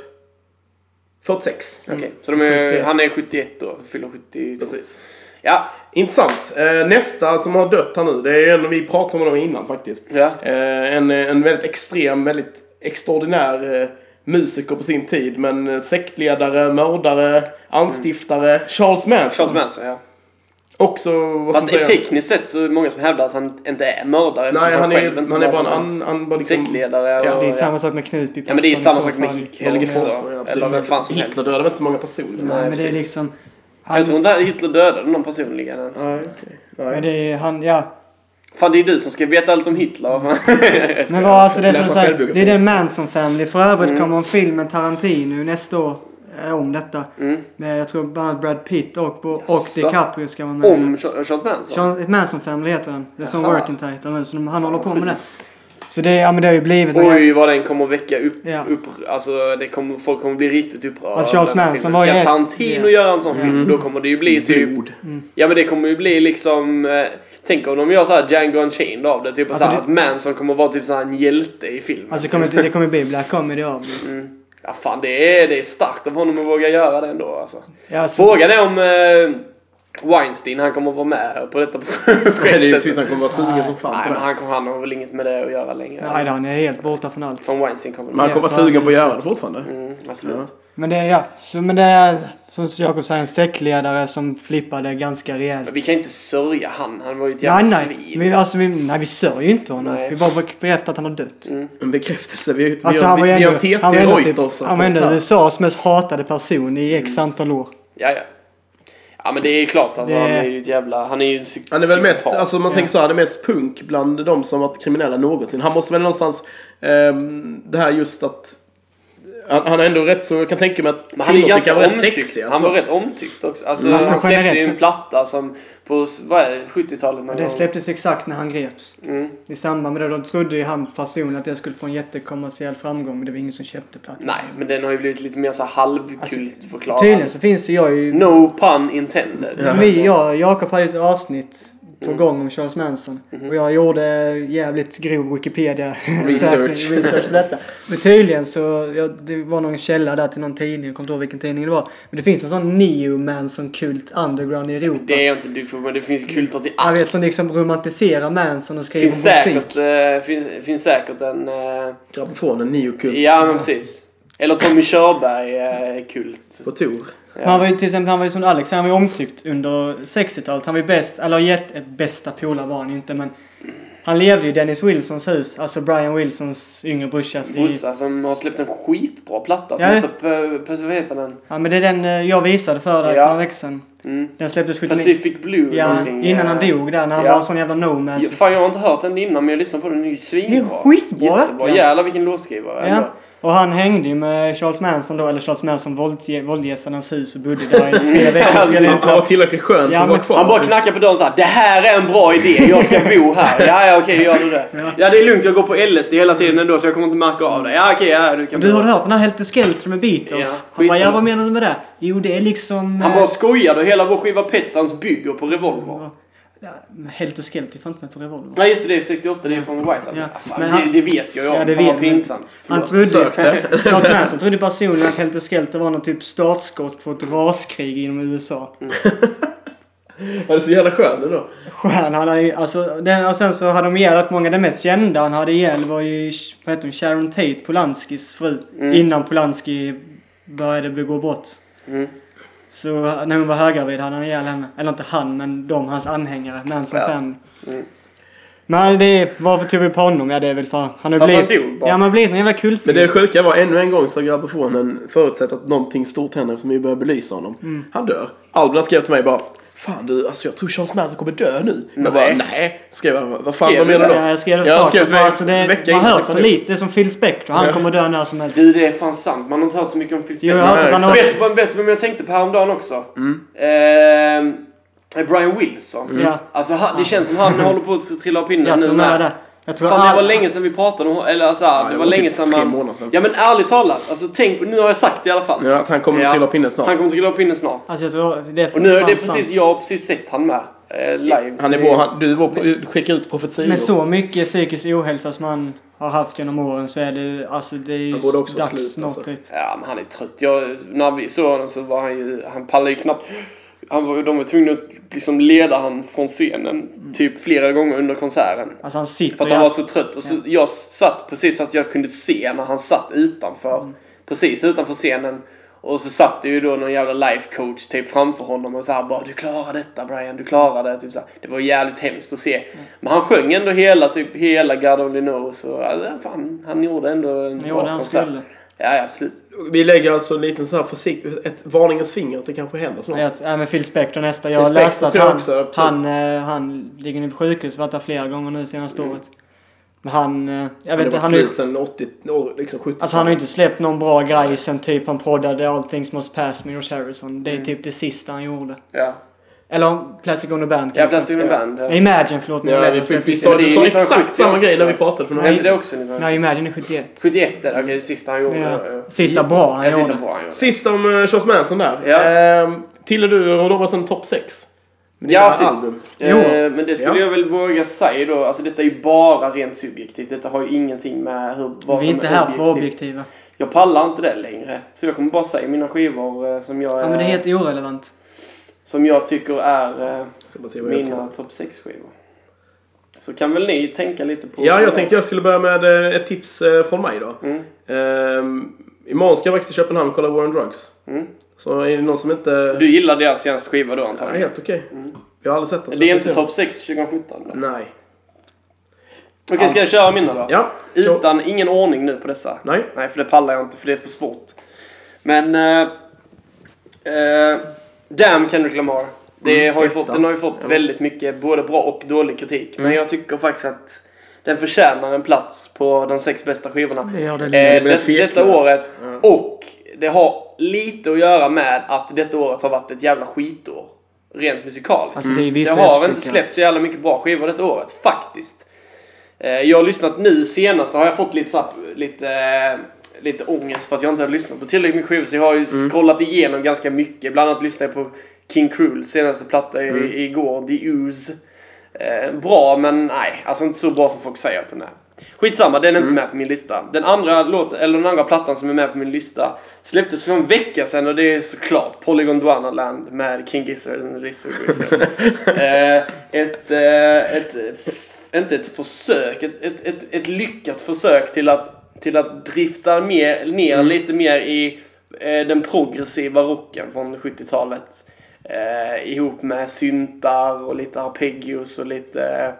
46.
Okej, så de är,
71.
han är 71 då. Fyller 70.
Precis.
Ja,
Intressant. Eh, Nästa som har dött här nu, det är en vi pratade om honom innan faktiskt.
Ja.
Eh, En, en väldigt extrem, väldigt extraordinär eh, musiker på sin tid. Men eh, sektledare, mördare, anstiftare. Charles Manson.
Mm. Charles Manson ja.
Också, vad ska man
Fast
Alltså,
säga?
tekniskt sett så är det många som hävdar att han inte är mördare. eftersom
Nej, han
själv
är,
inte
han är bara
var
en... Han, han bara liksom,
sektledare.
Ja,
och,
Det är samma sak med Knutby.
ja, men det är samma sak med Hitler
Helge
också.
Foss. ja,
Eller vem fan
precis.
som
Hitler
helst.
dödade väl inte så många personer?
Nej,
Nej, men det är
precis.
liksom... Han,
Jag tror inte att Hitler dödade någon personligen ens.
Nej, okej.
men
Nej.
det är han, ja.
Fan, det är du som ska veta allt om Hitler. Jag
Mm.
Mm.
Men vad, alltså det är
läsa
som sagt,
självbiografi.
det är den Manson Family. För övrigt kommer en film med Tarantino nästa år eh, om detta. Med, jag tror bland annat Brad Pitt och, och
Mm. Jaså?
DiCaprio ska vara med.
Om Ch- Charles Manson?
Sean, Manson Family heter den. Det är som
Jaha.
working title nu, så de, han håller på med det. Så det, ja, men det har ju blivit...
Oj vad den kommer att väcka upp,
Ja.
upp alltså det kommer, folk kommer bli riktigt upprörda.
Alltså, Charles
av den här
Manson
filmen.
var ju
Ska
ett-
Tarantino
Ja. Mm.
göra en sån film då kommer det ju bli typ...
Blod.
Ja men det kommer ju bli liksom... eh, Tänk om de gör såhär Django Unchained av det. Typ
Alltså,
såhär,
det-
att Manson kommer vara typ såhär en hjälte i filmen.
Alltså det kommer, inte- det kommer bli black comedy av det.
Ja fan det är, det är starkt av honom att våga göra det ändå alltså.
Ja, alltså,
Frågan är om... Eh, Weinstein, han kommer vara med här på detta
Det är ju
projektet.
tills han kommer vara sugen som fan
Nej,
på
men
det.
han, kommer- han har väl inget med det att göra längre.
Nej, han är helt borta från allt.
Tom Weinstein kommer
Men han
med.
kommer vara sugen på att göra det fortfarande.
Mm, absolut.
Men det är, ja, så, men det är som Jakob säger en säckledare som flippade ganska rejält.
Men vi kan inte sörja han. Han var ju ett
nej,
jävla
nej.
svin.
Vi, alltså, vi, nej, vi sörjer ju inte honom.
Nej.
Vi bara bekräftar att han har dött.
En bekräftelse. Vi, vi
Alltså,
gör,
han var
vi,
ju
vi gör
ändå,
en TT
han var ändå,
Reuters.
typ, han var ändå USAs mest hatade person i x antal år.
Ja, ja. Ja, men det är klart att
Det-
han är ju ett jävla... Han är ju en psyk-
Han är väl mest,
psykopat.
alltså man tänker så, han är mest punk bland de som varit kriminella någonsin. Han måste väl någonstans, ehm, det här just att, han, han är ändå rätt så, jag kan tänka mig att
Men han är
kvinnor
ganska
tycker han var rätt
omtyckt.
sexig.
Han
Alltså.
var rätt omtyckt också. Alltså,
Mm.
Han
Alltså,
släppte
generellt
ju en
sett.
platta som på vad är det, 70-talet någon
Den
gång.
släpptes exakt när han greps.
Mm.
I samband med det, de trodde ju han personligen att det skulle få en jättekommersiell framgång men det var ingen som köpte plattan.
Nej, men den har ju blivit lite mer så här halvkultförklarad.
Alltså, Tydligen så finns det, jag är ju...
No pun intended.
Ja.
Vi, jag och Jakob hade ett avsnitt på
Mm.
gång om Charles Manson.
Mm-hmm.
Och jag gjorde jävligt grov Wikipedia
Research.
research på detta. Men tydligen så, ja, det var någon källa där till någon tidning, jag kommer inte ihåg vilken tidning det var. Men det finns en sån neo Manson-kult underground i Europa.
Det är jag inte du för, men det finns ju kulter till
Jag
allt.
vet som liksom romantiserar Manson och
Det
skriver
finns
musik.
säkert, eh, finns, finns säkert en... eh,
Gramofonen, neokult,
ja, men precis. Eller Tommy Körberg-kult.
på Tor.
Ja.
Men Han var ju till exempel, han var ju som Alex, han var ju omtyckt under 60-talet. Han var ju bäst, eller jätt, eh, bästa polare var han ju inte men han levde ju i Dennis Wilsons hus, alltså Brian Wilsons yngre brorsas. i-
Bossa som har släppt en skitbra platta som
Ja.
heter... P- P- Vad heter den?
Ja men det är den eh, jag visade för dig
Ja.
för några veckor sedan.
Mm.
Den släpptes 79.
Pacific Blue
Ja,
någonting. eh,
innan han dog där när han
ja.
var en sån jävla nomad.
Ja, Fan jag har inte hört den innan men jag lyssnar på den. Den är ju svinbra.
Det är skitbra,
Jättebra.
verkligen.
Jävlar vilken låtskrivare.
Ja.
ändå.
Och han hängde ju med Charles Manson då, eller Charles Manson våldge- våldgästade hans hus och bodde där i tre veckor.
Alltså,
skulle
Han
in
var
på.
tillräckligt skön
Ja,
för att vara
men-
kvar.
Han bara knackar på dörren såhär. Det här är en bra idé. Jag ska bo här. Ja, ja okej gör du det. Ja. det är lugnt. Jag går på LSD hela tiden ändå så jag kommer inte märka av det. Ja okej, ja du kan
Du
bo
har
här.
hört den här Helter Skelter med
Ja,
Beatles? han
skitbra.
bara, ja vad menar du med det? Jo det är liksom...
Han
eh,
bara skojade och hela vår skiva Petsans bygger på Revolver.
Ja, men Helter Skelter fanns med på Revolver.
Nej just det, det är 68. Det är från White Album.
Ja.
Ja. Fan,
Men han-
det, det vet jag. Ja, det fan vad
men-
pinsamt.
Han
Förlåt.
trodde...
Sökte.
Charles Manson trodde personligen att Helter Skelter var någon typ startskott på ett raskrig inom USA.
Han är så jävla skön ändå.
Stjärn, han hade ju, alltså, den, och sen så hade de ihjäl rätt många. Den mest kända han hade ihjäl var ju, vad heter hon, Sharon Tate, Polanskis fru. Innan Polanski började begå brott.
Mm.
Så när hon var höggravid hade han ihjäl henne. Eller inte han, men de, hans anhängare. Manson
Ja.
family. Men det är, varför tog vi på honom? Ja det är väl för han har
För att
blivit...
han dog bara.
ja man har blivit en jävla
Men det
kultfigur.
sjuka var ännu en gång så har gramofonen förutsett att någonting stort händer eftersom vi börjar belysa honom.
Mm.
Han dör. Alban skrev till mig bara Fan du, alltså jag tror Charles Manson kommer dö nu. Jag bara
Nej.
nej. Skrev han. Vad fan, vad
Skrev du
menar du då?
Ja, jag skrev det
Ja,
klart.
jag skrev till
Bara,
mig
alltså, det,
vecka
Man
innan,
hör så
exakt.
lite. Det är som Phil Spector. Han
Ja.
kommer dö när som helst.
Du det är fan sant. Man har inte hört så mycket om Phil Spector.
Jo, jag har hört att han har...
Vet du vad- vet du vem jag tänkte på häromdagen också? Ehm, Brian Wilson.
Ja.
Alltså han, det känns som han håller på att trilla av pinnen
Jag
nu
tror med det. Jag tror
Fan det var
all-
länge sedan vi pratade om eller alltså, det,
det
var,
var
länge
typ
sedan
tre
man...
månader sedan.
Ja men ärligt talat, alltså tänk på, nu har jag sagt det i alla fall.
Ja, att han kommer
Ja.
att trilla pinnen snart.
Han kommer trilla av pinnen snart.
Alltså jag tror det är
Och nu är
fan
det
sant.
precis, jag har precis sett han med. Eh, live.
Han är
Så
bra.
det-
Han, du var på, du skickade ut profetior.
Med så mycket psykisk ohälsa som han har haft genom åren så är det, alltså det är ju
Han borde också
dags
sluta,
snart
alltså.
typ.
Ja men han är trött. Jag, när vi såg honom så var han ju, han pallade ju knappt. Han var, de var tvungna att liksom leda han från scenen
Mm.
typ flera gånger under konserten.
Alltså han
För
sitter
att
ju...
han var så trött. Och så, jag satt precis så att jag kunde se när han satt utanför.
Mm.
Precis utanför scenen. Och så satt det ju då någon jävla life coach typ framför honom och så här bara du klarar detta Brian, du klarar det. Typ så här. Det var jävligt hemskt att se.
Mm.
Men han sjöng ändå hela, typ hela God Only Knows och ja, fan, han gjorde ändå en
Han gjorde det han
konsert.
skulle.
Ja, ja, absolut.
Vi lägger alltså en liten så här försikt, ett varningens finger att det kanske händer snart.
Jag, ja, men Phil Spector nästa. Jag har
Phil
läst
Spector
att
tror jag
han,
också, precis.
han, eh, han ligger nu på sjukhus och varit där flera gånger nu senaste
Mm.
året. Men han, eh, jag
Men
vet
det
inte,
var
han,
slut
har-
sen 80, år, liksom 70
alltså han har ju inte släppt någon bra grej sen typ han proddade All Things Must Pass med George Harrison.
Mm.
Det är typ det sista han gjorde.
Ja.
Eller Plastic on the Band
Jag
kanske.
plastic in a band. Ja.
Nej, Imagine, förlåt. men
Ja,
Eleven
vi, vi,
släppte
vi
ju-
sa,
det är
du sa
1970
exakt samma grej när vi
också.
pratade för några
Var inte det
år
också 1971?
Nej, Imagine är 71.
71 är det, okej det sista han gjorde.
Ja.
Ja.
Sista bra han
Jag sitter
gjorde.
på han gjorde.
Sist om eh, Charles Manson där.
Ja.
Ehm, Tille, du har lovat en topp 6.
Ja, precis. Eh,
Jo.
men det skulle
Ja.
jag väl våga säga då. Alltså detta är ju bara rent subjektivt. Detta har ju ingenting med hur, vad
Vi är inte här för objektiva.
Jag pallar inte det längre. Så jag kommer bara säga mina skivor eh, som jag...
Ja, men det är
eh,
helt irrelevant.
Som jag tycker är eh,
Ska bara se vad jag kan.
mina topp 6-skivor. Så kan väl ni tänka lite på...
Ja, jag tänkte jag skulle börja med eh, ett tips eh, från mig då.
Mm.
Ehm, imorgon ska jag faktiskt till Köpenhamn och kolla War on Drugs.
Mm.
Så är det någon som inte...
Du gillar deras senaste skiva då
Ja,
antagligen?
helt okej. Jag har aldrig sett den. så
det är
jag får
inte
se.
topp 6 2017? då?
Nej.
Okej, ska jag köra mina då?
Ja. så-
Utan ingen ordning nu på dessa.
Nej.
Nej, för det pallar jag inte, för det är för svårt. Men... eh, eh, damn Kendrick Lamar. Det
Mm,
har ju
etta.
fått, den har ju fått väldigt mycket både bra och dålig kritik. Men jag tycker faktiskt att den förtjänar en plats på de sex bästa skivorna.
Det gör den.
Eh,
blir
det, detta
tveklös.
året. Och det har lite att göra med att detta året har varit ett jävla skitår. Rent musikaliskt.
Alltså det är vissa
Det har väl
uppstickare.
inte släppt så jävla mycket bra skivor detta året, faktiskt. Eh, Jag har lyssnat nu senast, har jag fått lite, så här- lite, eh, lite ångest för att jag inte har lyssnat på tillräckligt mycket skivor. Så jag har ju
Mm.
scrollat igenom ganska mycket. Bland annat lyssnade jag på King Cruel senaste platta i-
Mm.
igår, The Ooze. Eh, Bra, men nej, alltså inte så bra som folk säger att den är. Skitsamma, den är
Mm.
inte med på min lista. Den andra, låt, eller den andra plattan som är med på min lista släpptes för en vecka sedan och det är såklart Polygon Duanaland med King Gizzard and the Lizard Wizard. Eh, ett, eh, ett, inte ett försök, ett, ett, ett, ett lyckat försök till att, till att drifta mer, ner lite mer i eh, den progressiva rocken från 70-talet. Eh, ihop med syntar och lite arpeggios och lite eh,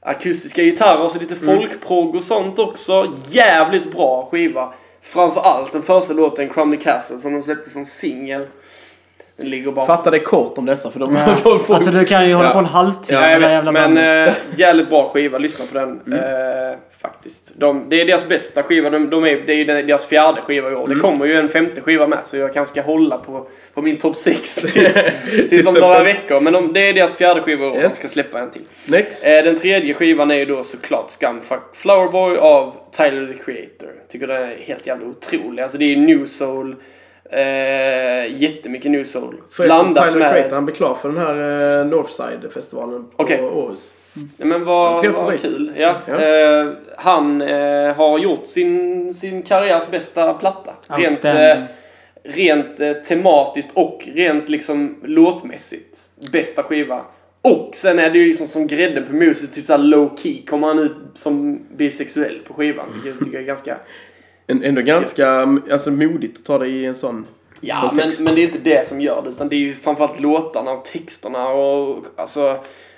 akustiska gitarrer och så lite folkprog och sånt också. Jävligt bra skiva. Framförallt den första låten, Crumley Castle, som de släppte som singel. Den ligger bara
Fatta det kort om dessa för de får folk...
Alltså du kan ju hålla på en halvtimme
Ja, jag
med det
vet,
jävla
men
bandet.
eh, jävligt bra skiva, lyssna på den.
Mm.
Eh, faktiskt. De, det är deras bästa skiva, de, de är, det är ju den- deras fjärde skiva i år.
Mm.
Det kommer ju en femte skiva med så jag kanske ska hålla på, på min topp 6 tills, tills om
den
några
fem-
veckor. Men de, det är deras fjärde skiva i år,
Yes.
jag ska släppa en till.
Next.
Eh, den tredje skivan är ju då såklart Scumfuck Flowerboy av Tyler the Creator. Tycker den är helt jävla otrolig. Alltså det är ju new soul, eh, jättemycket new soul.
Förresten,
Blandat
Tyler
med...
Creator, han blir klar för den här eh, Northside-festivalen på
Okej.
Åhus.
Ja, men
Ja,
vad,
trevligt
vad
att vara
kul. Ja.
Ja.
Eh, han eh, har gjort sin, sin karriärs bästa platta. Rent, eh,
Outstanding.
rent eh, tematiskt och rent liksom låtmässigt. Bästa skiva. Och sen är det ju liksom som grädden på moset, typ såhär low key kommer han ut som bisexuell på skivan. Vilket jag tycker är ganska...
En- Ändå ganska alltså, modigt att ta det i en sån...
Ja, men,
Kontext.
men det är inte det som gör det. Utan det är ju framförallt låtarna och texterna och alltså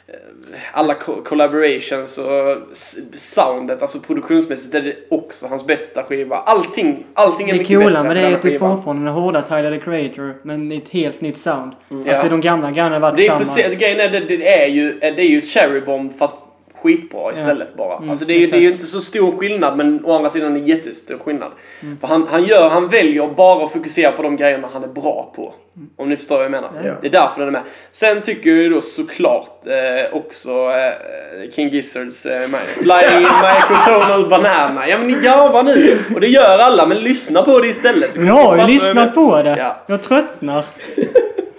eh, alla co- collaborations och s- soundet, alltså produktionsmässigt är det också hans bästa skiva. Allting, allting är
Det
mycket
coola
bättre
med
än
det är typ
denna
att det
skivan.
fortfarande är hårda Tyler the Creator men i ett helt nytt sound.
Ja.
Alltså de gamla grejerna har varit
Det är
samma.
precis, grejen är det, det är ju, eh, det är ju Cherry Bomb fast skitbra istället bara.
Mm,
alltså det är, ju, det är ju
exakt.
inte så stor skillnad men å andra sidan är det jättestor skillnad.
Mm.
För han, han, gör, han väljer bara att fokusera på de grejerna han är bra på.
Mm.
Om ni förstår vad jag menar.
Ja.
Det är därför den är med. Sen tycker jag ju då såklart eh, också eh, King Gizzards eh, My- Flying Microtonal Banana. Ja men ni garvar nu! Och det gör alla men lyssna på det istället. så
Men Jag
kommer ni
har
fatta vad
ju
jag menar.
lyssnat på det.
Ja.
Jag tröttnar.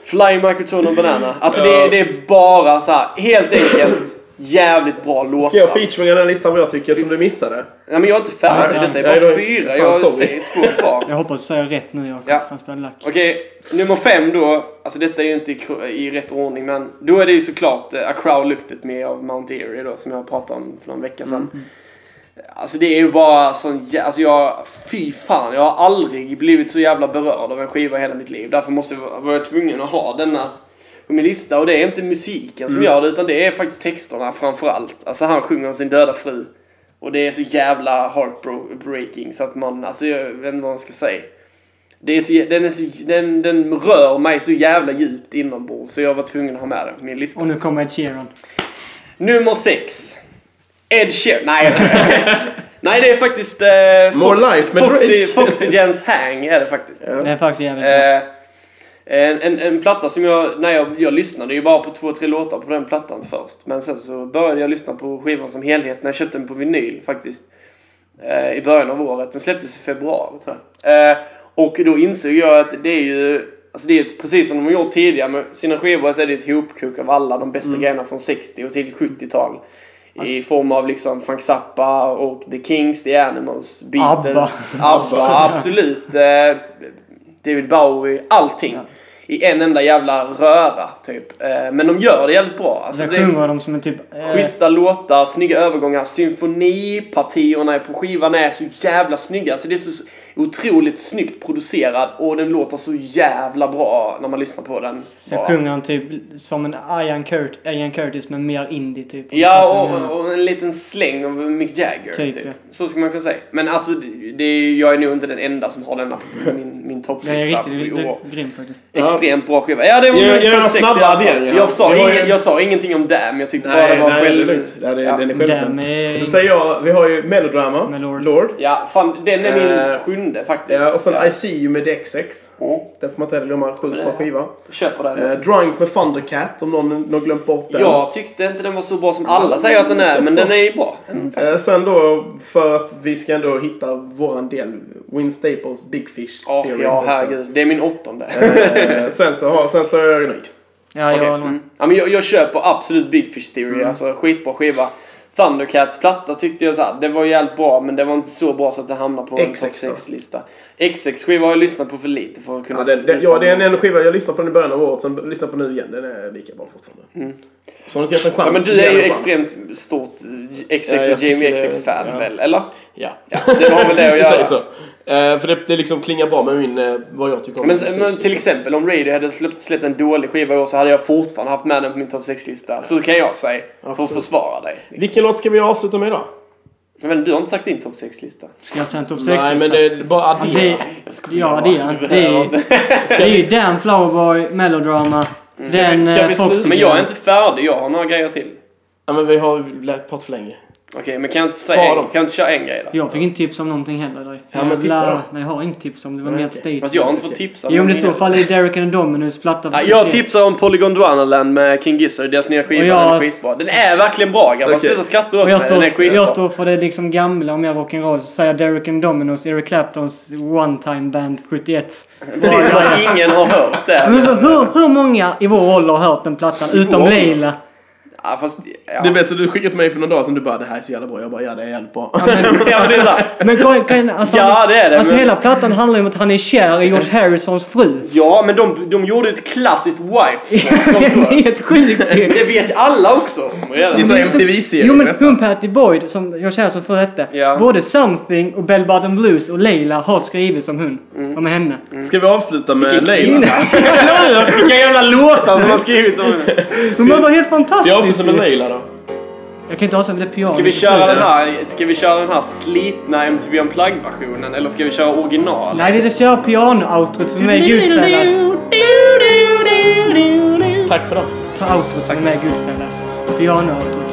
Fly Microtone och Banana. Alltså det, är- det är bara så här, helt enkelt jävligt bra låtar.
Ska jag featuringa den listan vad jag tycker som du missade?
Nej men jag är inte färdig.
Nej,
Detta är
nej,
bara
då-
fyra.
fan,
Jag
sorry.
säger två kvar.
Jag hoppas du säger rätt nu Jakob.
Ja.
Han spelar lack.
Okej, nummer fem då. Alltså detta är ju inte i, kro- i rätt ordning men då är det ju såklart eh, A Crow Looked At Me av Mount Airy då som jag pratade om för någon vecka sedan.
Mm.
Alltså det är ju bara sån jä- alltså jag, fy fan, jag har aldrig blivit så jävla berörd av en skiva i hela mitt liv. Därför måste jag, var jag tvungen att ha denna på min lista. Och det är inte musiken
Mm.
som gör det, utan det är faktiskt texterna framförallt. Alltså han sjunger om sin döda fru. Och det är så jävla heartbreaking så att man, alltså jag vet inte vad man ska säga. Det är så, jä- den, är så, den, den rör mig så jävla djupt inombords så jag var tvungen att ha med den på min lista.
Och nu kommer Ed Sheeran.
Nummer sex. Ed Sheeran. Nej, Nej, det är faktiskt eh,
More Life med
Foxy,
Drake.
Foxy Jens Hang är det faktiskt.
Det är faktiskt jävligt bra.
Eh, en, en, en platta som jag, när jag, jag lyssnade ju bara på två, tre låtar på den plattan först. Men sen så började jag lyssna på skivan som helhet när jag köpte den på vinyl faktiskt. Eh, I början av året. Den släpptes i februari tror jag. Eh, och då insåg jag att det är ju, alltså det är ett, precis som de har gjort tidigare med sina skivor så är det ett hopkok av alla de bästa grejerna från 60 och till 70-tal. I form av liksom Frank Zappa och The Kings, The Animals, Beatles,
ABBA.
ABBA, absolut. Eh, David Bowie, allting. i en enda jävla röra typ. Eh, Men de gör det jävligt bra. Alltså,
Där
det är
sjunger de som en typ... eh,
schyssta låtar, snygga övergångar. Symfonipartierna på skivan är så jävla snygga. Alltså, det är så otroligt snyggt producerad och den låter så jävla bra när man lyssnar på den.
Sen
Bara.
sjunger han typ som en Ian, Curt, Ian Curtis men mer indie typ.
Ja, och, och en liten släng av Mick Jagger. Typ,
Typ, ja.
Så skulle man kunna säga. Men alltså, det, det, är- jag är nog inte den enda som har denna på min, min topplista.
Det är
i
riktigt det
år.
är grymt faktiskt.
Extremt bra skiva. Ja, det var
Gör-
min
gör
topp
några
sex i
snabba
alla fall.
adderingar.
Jag sa,
Det var
ingen,
ju-
jag sa ingenting om Damn, jag tyckte bara
Nej,
det var
nej, det är
själv...
lugnt. Ja, det,
Ja.
Den är
Damn,
självdömd.
är...
Då säger jag, vi har ju Melodrama,
Med Lord.
Ja, fan, den är min
Eh,
sjunde faktiskt.
Ja, och sen I See You med DXX.
Mm.
Den får man inte heller glömma, sjukt bra skiva.
Köper den.
Eh, Drunk med Thundercat, om någon någon glömt bort den.
jag tyckte inte den var så bra som alla säger att den är, men den är ju bra.
Eh, sen då, för att vi ska ändå hitta våran del, Win Staples Big Fish.
Ja,
Theory
ja,
också.
herregud. Det är min åttonde.
Eh, sen, så har, sen så är jag nöjd.
Ja, jag
Okej,
håller med.
mm. ja, men jag, jag köper absolut Big Fish Theory,
Mm.
alltså skitbra skiva. Thundercats platta tyckte jag så här, det var jävligt bra men det var inte så bra så att det hamnade på en
XX
topp
då?
6-lista. XX skiva har jag lyssnat på för lite för att kunna...
Ja, det, det,
uttala
ja, det är en,
mig.
en skiva jag lyssnade på den i början av året, sen lyssnade på den nu igen. Den är lika bra fortfarande. Så har du inte gett en chans.
Mm. ja, men du
ge
är
den
ju
en chans.
extremt stort eh, XX
Ja, jag
och Jamie
tycker det-
XX-fan
ja.
väl, eller?
Ja.
Det har väl det att
Vi
göra.
säger så. Eh, för det, det liksom klingar bra med min, eh, vad jag tycker om
Men,
musik,
men till
liksom.
exempel om Radiohead hade släppt, släppt en dålig skiva i år så hade jag fortfarande haft med den på min topp 6-lista. Så kan jag säga, för att
Absolut.
försvara dig.
Vilken låt ska vi avsluta med idag?
Men du har inte sagt din topp 6-lista.
Ska jag säga en topp 6
Nej, men det är bara addera.
det, ja, det är
Du
det.
behöver
är-
inte. Mm.
Det är ju Damn Flowerboy, Melodrama, den
ska vi
eh,
sluta?
Foxy
Men jag är
Girl.
inte färdig, jag har några grejer till.
Ja, men vi har lärt på för länge.
Okej, men kan jag inte säga
Spara
en,
dem.
kan jag inte köra en grej då?
Jag fick inte tips om någonting heller. Där.
Ja, men tipsa
Jävla-
då.
Nej, jag har inget tips om det. var
Nej,
mer
okej.
ett
Fast jag har
statement.
inte fått tipsa.
Jo,
om
men i
någon
så
grej.
fall är Derek and the Dominos platta
Ja,
från
jag
71.
tipsar om Polygon Duanaland med King Gizzard, deras nya skiva.
Och jag-
Den är skitbra. Den är verkligen bra grabbar,
Okej.
sluta skratta åt
Och jag
mig. Den är
står, jag
skitbra.
står för det liksom gamla och mer rock'n'roll. Så säger jag Derek and Dominos, Eric Claptons One Time Band 71.
Precis som att ingen har hört
Ja, Men
det.
hur, hur många i vår ålder har hört den plattan? Utom
ålder?
Leila.
Ja, fast... Ja.
Det bästa du skickat till mig för några dagar sedan, du bara det här är så jävla bra. Jag bara ja, det är jävligt bra.
Ja, men det är så här.
Men kan, kan, alltså,
Ja, det är det,
Alltså
men-
hela plattan handlar ju om att han är kär i George Harrisons fru.
Ja, men de, de gjorde ett klassiskt wife
det är helt sjukt ju.
Det vet alla också om
Det är
redan.
så
Men så-
MTV-serie
Jo men
nästan.
hon Patty Boyd, som George Harrison förr hette.
Ja.
Både Something och Bell Bottom Blues och Leila har skrivits om hon.
Mm.
Om henne.
Ska vi avsluta med Leila?
Vilka jävla låtar som har skrivits om det.
Hon var helt
Vi
fantastisk
avslutar med
ju.
Leila då.
Jag kan inte avsluta med det piano.
Ska vi
Det
köra
slutar.
den här, ska vi köra den här slitna MTV Unplugged-versionen eller ska vi köra original?
Nej, vi ska köra piano-outrot som är med i Goodfellas.
Tack för det.
Ta outrot som är med i Goodfellas. Piano-outrot.